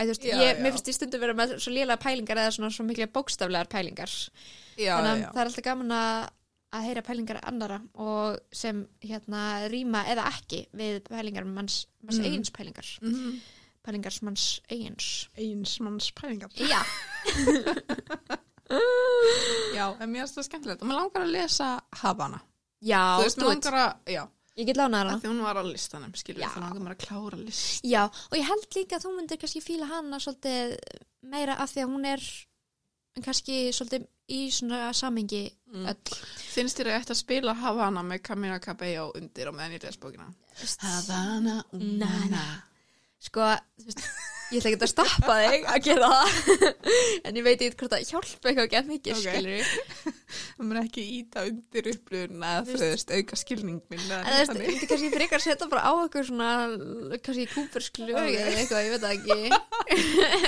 þú veist, Já, ég, mér já. finnst ég stundum vera með svo lélega pælingar eða svona svo mikla bókstaflegar pælingar Já, þannig að já. það er alltaf gaman að að heyra pælingar annara og sem hérna rýma eða ekki við pælingar manns, manns Mm. eigins pælingar pælingar sem manns eigins [LAUGHS] einsmanns pælingar Já, já, en mér finnst það skemmtilegt og mér langar að lesa Havana já þú veist, do mér it. langar að, já, Ég get lánað að hana því hún var á listanum skilur, Já. það langar mér að klára list Já, og ég held líka að þú myndir kannski fíla hana svolítið meira af því að hún er kannski svolítið í svona samengi mm. öll finnst þér að ég ætti að spila Havana með Camila Cabello undir og meðan ég les bókina Veist, Na, Havana, na. unana Sko, þú veist, ég ætla ekki að stoppa þig að gera það [LAUGHS] en ég veit ekki hvort það hjálpa eitthvað gett mikið Ok. okay. skilur það mér ekki íta undir upplöðuna þú Veist- veist, auka skilning minn eða En þú veist, þannig. myndi kannski frekar setja bara á eitthvað svona kannski kúpersklu Ok. eða eitthvað, ég veit það ekki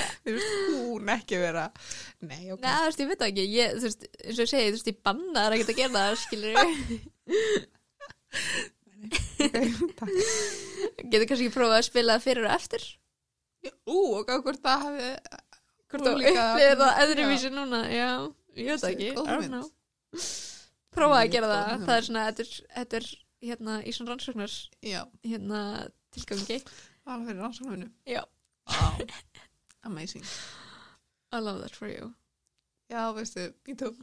þú veist, hún ekki vera nei, ok, Nei, þú veist, ég veit það ekki, ég, þú veist, eins og ég segi, þú veist, ég banna það ekki að gera það, skilur [LAUGHS] takk Getur kannski prófað að spila það fyrir og eftir ú, og á hvort það hafi Hvort þú Ólíka- upplifir það öðruvísi núna Já, ég veit það ekki I Góð don't hugmynd. know. Prófaði að Mjög gera góð það hugmynd. Það er svona, þetta er- þetta er hérna í svona rannsóknar já, hérna tilgangi alveg fyrir rannsóknunum Já, Wow. Amazing. I love that for you Já, veistu, ég tók.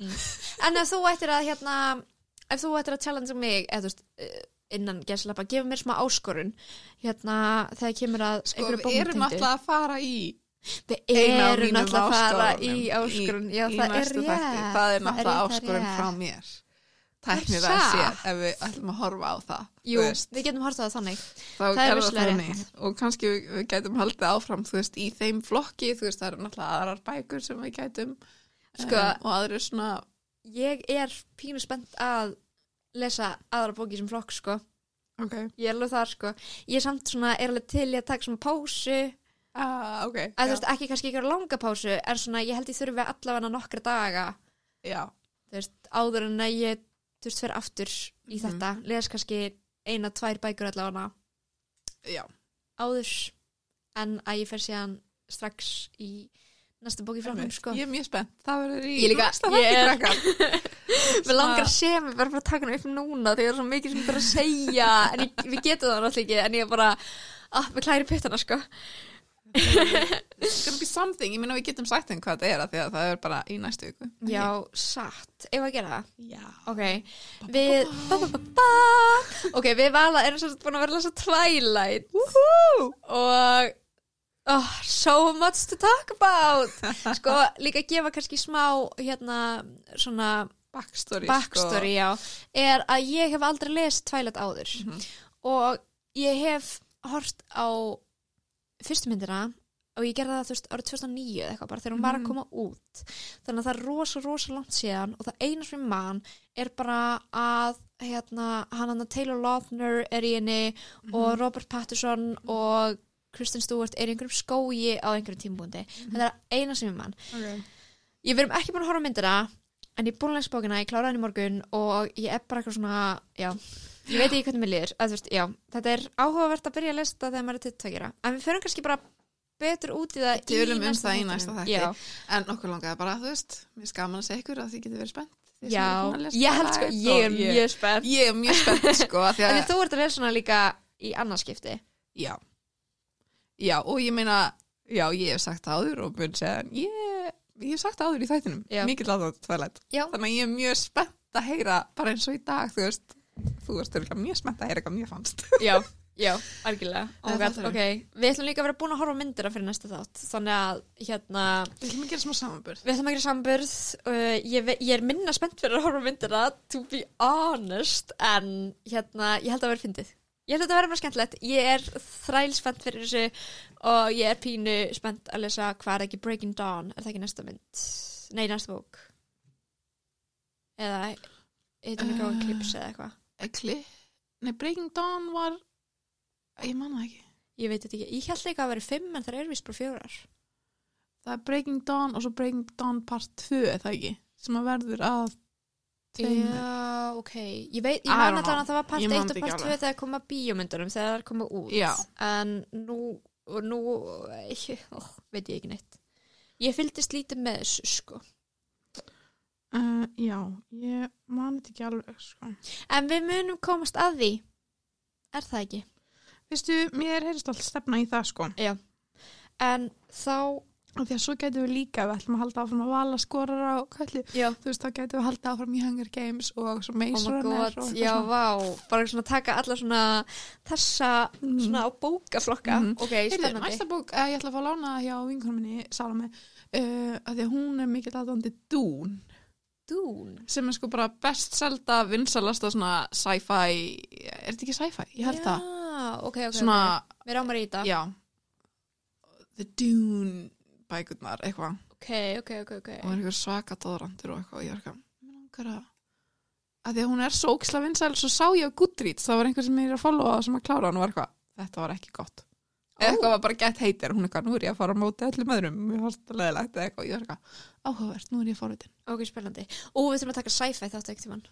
En ef þú ættir að hérna ef þú ættir að challenge mig eða þú veist eh, innan gæslappa, gefa mér smá áskorun hérna þegar kemur að Sko, einhverju við erum bókmyndtengdu. alltaf að fara í, Við eina af erum mínum náttúrulega að fara í áskorunum áskorun Já, í það er næstu þætti. rétt Það er rétt, náttúrulega það er áskorun rétt. frá mér. Tæknir Það að er sé satt. ef við ætlum að horfa á það. þú Jú, veist. við getum hortað þannig Þá það er gerðu vissulega þannig. Og kannski við, við gætum haldið áfram, þú veist, í þeim flokki, þú veist, það eru náttúrulega aðrar bækur sem við gætum. Sko- um, og aðrir svona, Ég er pínu spennt að lesa aðra bóki sem flokk sko ok, Ég er alveg þar sko Ég er samt svona, er alveg til í að taka svona pásu að ah, ok, þú veist, ekki kannski ykkur langa pásu en svona, ég held ég þurfi allavega nokkra daga já, já, þú veist, áður en að ég þú veist, fer aftur í Mhm. þetta les kannski eina, tvær bækur allavega Já, áður en að ég fer síðan strax í næsta bóki frá hann einmitt. sko. ég er mjög spennt Það verður í Ég líka, næsta ég þætti er- krakkar Við langar að segja, við verðum bara að taka hana upp núna þegar það er svo mikið sem ég bara að segja en ég, við getum það náttúrulega ekki en ég er bara að við klæri puttana sko It's gonna be something, ég meina við getum sagt þeim hvað þetta er af Því að það er bara í næstu viku Já, satt, eigum við að gera það Já Ok, við ba, ba, ba, ba. Ok, við vala erum svolítið búin að vera að lesa Twilight Woohoo! og oh, so much to talk about sko, líka gefa kannski smá hérna, svona Backstory, sko. backstory, já, er að ég hef aldrei lesið Twilight áður Mhm. og ég hef hort á fyrstu myndina og ég gerði það þú veist árið 2009 eða eitthvað bara þegar hún var að Mhm. koma út þannig að það er rosa rosa langt síðan og það eina sem ég man er bara að hérna, hann hann Taylor Lautner er í henni Mhm. og Robert Pattinson og Kristen Stewart er í einhverjum skói á einhverjum tímbúndi Mhm. þetta er eina sem ég man sko. okay. Ég verðum ekki búin að horfa á myndina en ég er búin að lesa bókina, ég kláraði henni í morgun og ég er bara eitthvað svona, já ég veit ekki hvernig mér líður, að þú veist, já þetta er áhugavert að byrja að lesa þetta þegar maður er til tækjara en við förum kannski bara betur út í það Tölum um næsta það í þættinum. næsta þætti. Já, En okkur langaði bara, þú veist, mér er skaman að segja ykkur að þið getur verið spennt. Þið sem já, eru búin að lesa ég held sko, Twilight ég er og mjög spennt Ég er mjög spennt, sko, [LAUGHS] af því En að, þú ert að lesa svona líka í annarskipti já. Já, og ég meina, já, ég hef sagt það áður og mun segja, ég, ég hef sagt það áður í þættinum, Já. mikið láta tvælætt. Já, Þannig að ég er mjög spennt að heyra, bara eins og í dag, þú veist, þú veist, þú mjög spennt að heyra hvað mér fannst. já, já, algjörlega Það oh er God, þátturinn. okay. Við ætlum líka að vera búin að horfa á myndina fyrir næsta þátt þannig að, hérna, Við ætlum að gera smá samanburð. Við ætlum að gera samburð, uh, ég, ve- ég er minna spennt fyrir að horfa á myndina, to be honest, en hérna, ég held að vera fyndið. Ég held að þetta verður bara skemmtilegt, ég er þræl spennt fyrir þessu og ég er pínu spennt að lesa hvað er ekki Breaking Dawn, er það ekki næsta mynd? Nei, næsta bók. Eða, heitum ekki á Uh. Eclipse eða eitthvað. Ekli, nei, Breaking Dawn var, ég manna ekki. Ég veit þetta ekki, ég held ekki að það verið fimm en það er vist bara fjórar. það er Breaking Dawn og svo Breaking Dawn part 2 er það ekki, sem að verður að tveimur. Já, ok. Ég veit, ég I man don't alltaf know. að það var part Ég 1 man og þetta part ekki 2 þegar koma bíómyndunum, þegar það er koma út. Já. En nú, og nú, ó, veit ég ekki neitt. Ég fylgdist lítið með þessu, sko. Uh, já, ég man þetta ekki alveg sko. En við munum komast að því. Er það ekki? veistu, mér heyrist alltaf stefna í það sko En þá, og því að svo gætum við líka, við ætlum að halda áfram að vala skorara og kallu, já, þú veist, þá gætum við að halda áfram í Hunger Games og svo oh Maze my Runner god, og eitthvað já, svona. vá, bara svona taka alla svona þessa, Mm. svona á bókaflokka. Mhm. Ok, Heyrðu, spennandi. næsta bók, uh, ég ætla að fá lána hjá vinkonum minni, Salome uh, að því að hún er mikill aðdóndi Dún Dún. sem er sko bara best selda vinsalasta svona sci-fi er þetta ekki sci-fi? Ég held það Já, ok, ok. svona, ok. Mér ámar í þetta. já The Dune bækurnar eitthvað Ok, ok, ok, ok. og er eitthvað svaka tóðrandur og eitthvað og ég er eitthvað, mér langar að að því að hún er svo óksla vinsæl svo sá ég á Goodreads, það var einhver sem ég er að followa sem að klára hann og var eitthvað, þetta var ekki gott eða eitthvað var bara gett heitir hún er eitthvað, nú er ég að fara á móti öllum öðrum mér fannst þetta leðilegt eða eitthvað, og ég er eitthvað áhugavert, nú er ég forvitin Ok, spennandi. Og við þurfum að taka sci-fi þáttu ekkert tímann.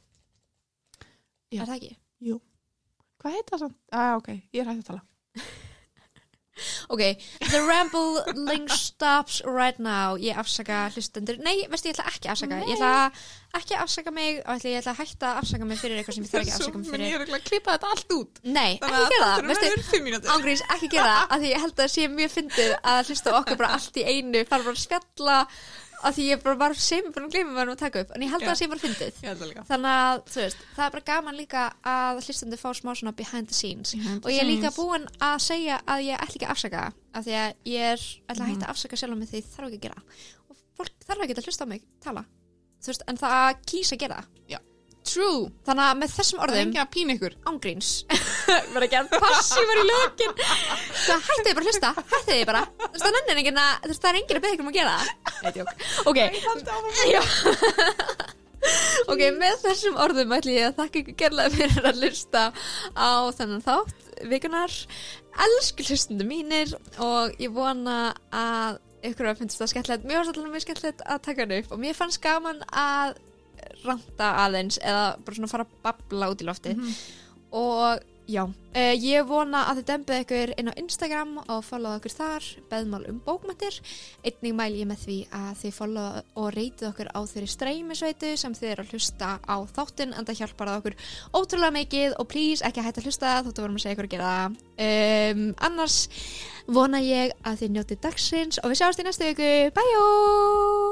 Já. Er það ekki? hvað heit það samt? Ah, ok, ég er hægt að tala Ok, the rambling stops right now. Ég afsaka hlustendur. Nei, veistu, ég ætla ekki að afsaka. Ég ætla ekki að afsaka mig og ætla, ég ætla að hætta að afsaka mig fyrir eitthvað sem ég þarf ekki að afsaka mig Svo mun fyrir. ég er að klippa þetta allt út Nei, ekki gera það. Veistu, verður fimm mínútur Ángríns, ekki gera það, af því ég held að það sé mjög fyndið að hlusta á okkur bara allt í einu, fara bara að spjalla, af því ég bara var sem búin að gleyma mér að taka upp, en ég held að það sé bara fyndið. Ég held það líka Þannig að, þú veist, það er bara gaman líka að hlustandi fá smá svona behind the scenes. Og ég er líka búin að segja að ég ætla ekki að afsaka af því að ég er ætla að hætta að afsaka sjálf mig því ég þarf ekki að gera. Og fólk þarf ekki að hlusta á mig, tala. Þú veist, en það kýsa að gera. True, Þannig að með þessum það er orðum, engin að pína ykkur ángríns, [LAUGHS] verður ekki að passívar í lökin. Það hættu þið bara að hlusta, hættu þið bara. Þú veist, það er enginn engin að, þú veist, það er enginn að beða ykkur um að gera það. Nei, djók. Ok, Já. [LAUGHS] ok, með þessum orðum ætlum ég að þakka ykkur gerlega fyrir að hlusta á þennan þátt vikunar. Elsku hlustundu mínir og ég vona að ykkur að finnst það skemmtilegt. Mér fannst alltaf mjög skemmtilegt að taka hann upp og mér fannst gaman að ranta aðeins eða bara svona fara að babla út í loftið og Já, uh, ég vona að þið dembið ykkur inn á Instagram og followa okkur þar, beðmál um bókmættir. Einnig mæl ég með því að þið followa og reytið okkur á þeirri streymisveitu sem þið eru að hlusta á þáttinn en það hjálpar það okkur ótrúlega mikið og please ekki hætta að hlusta þóttu vorum að segja ykkur að gera það. Um, annars vona ég að þið njótið dagsins og við sjáumst í næstu viku. Bæjó!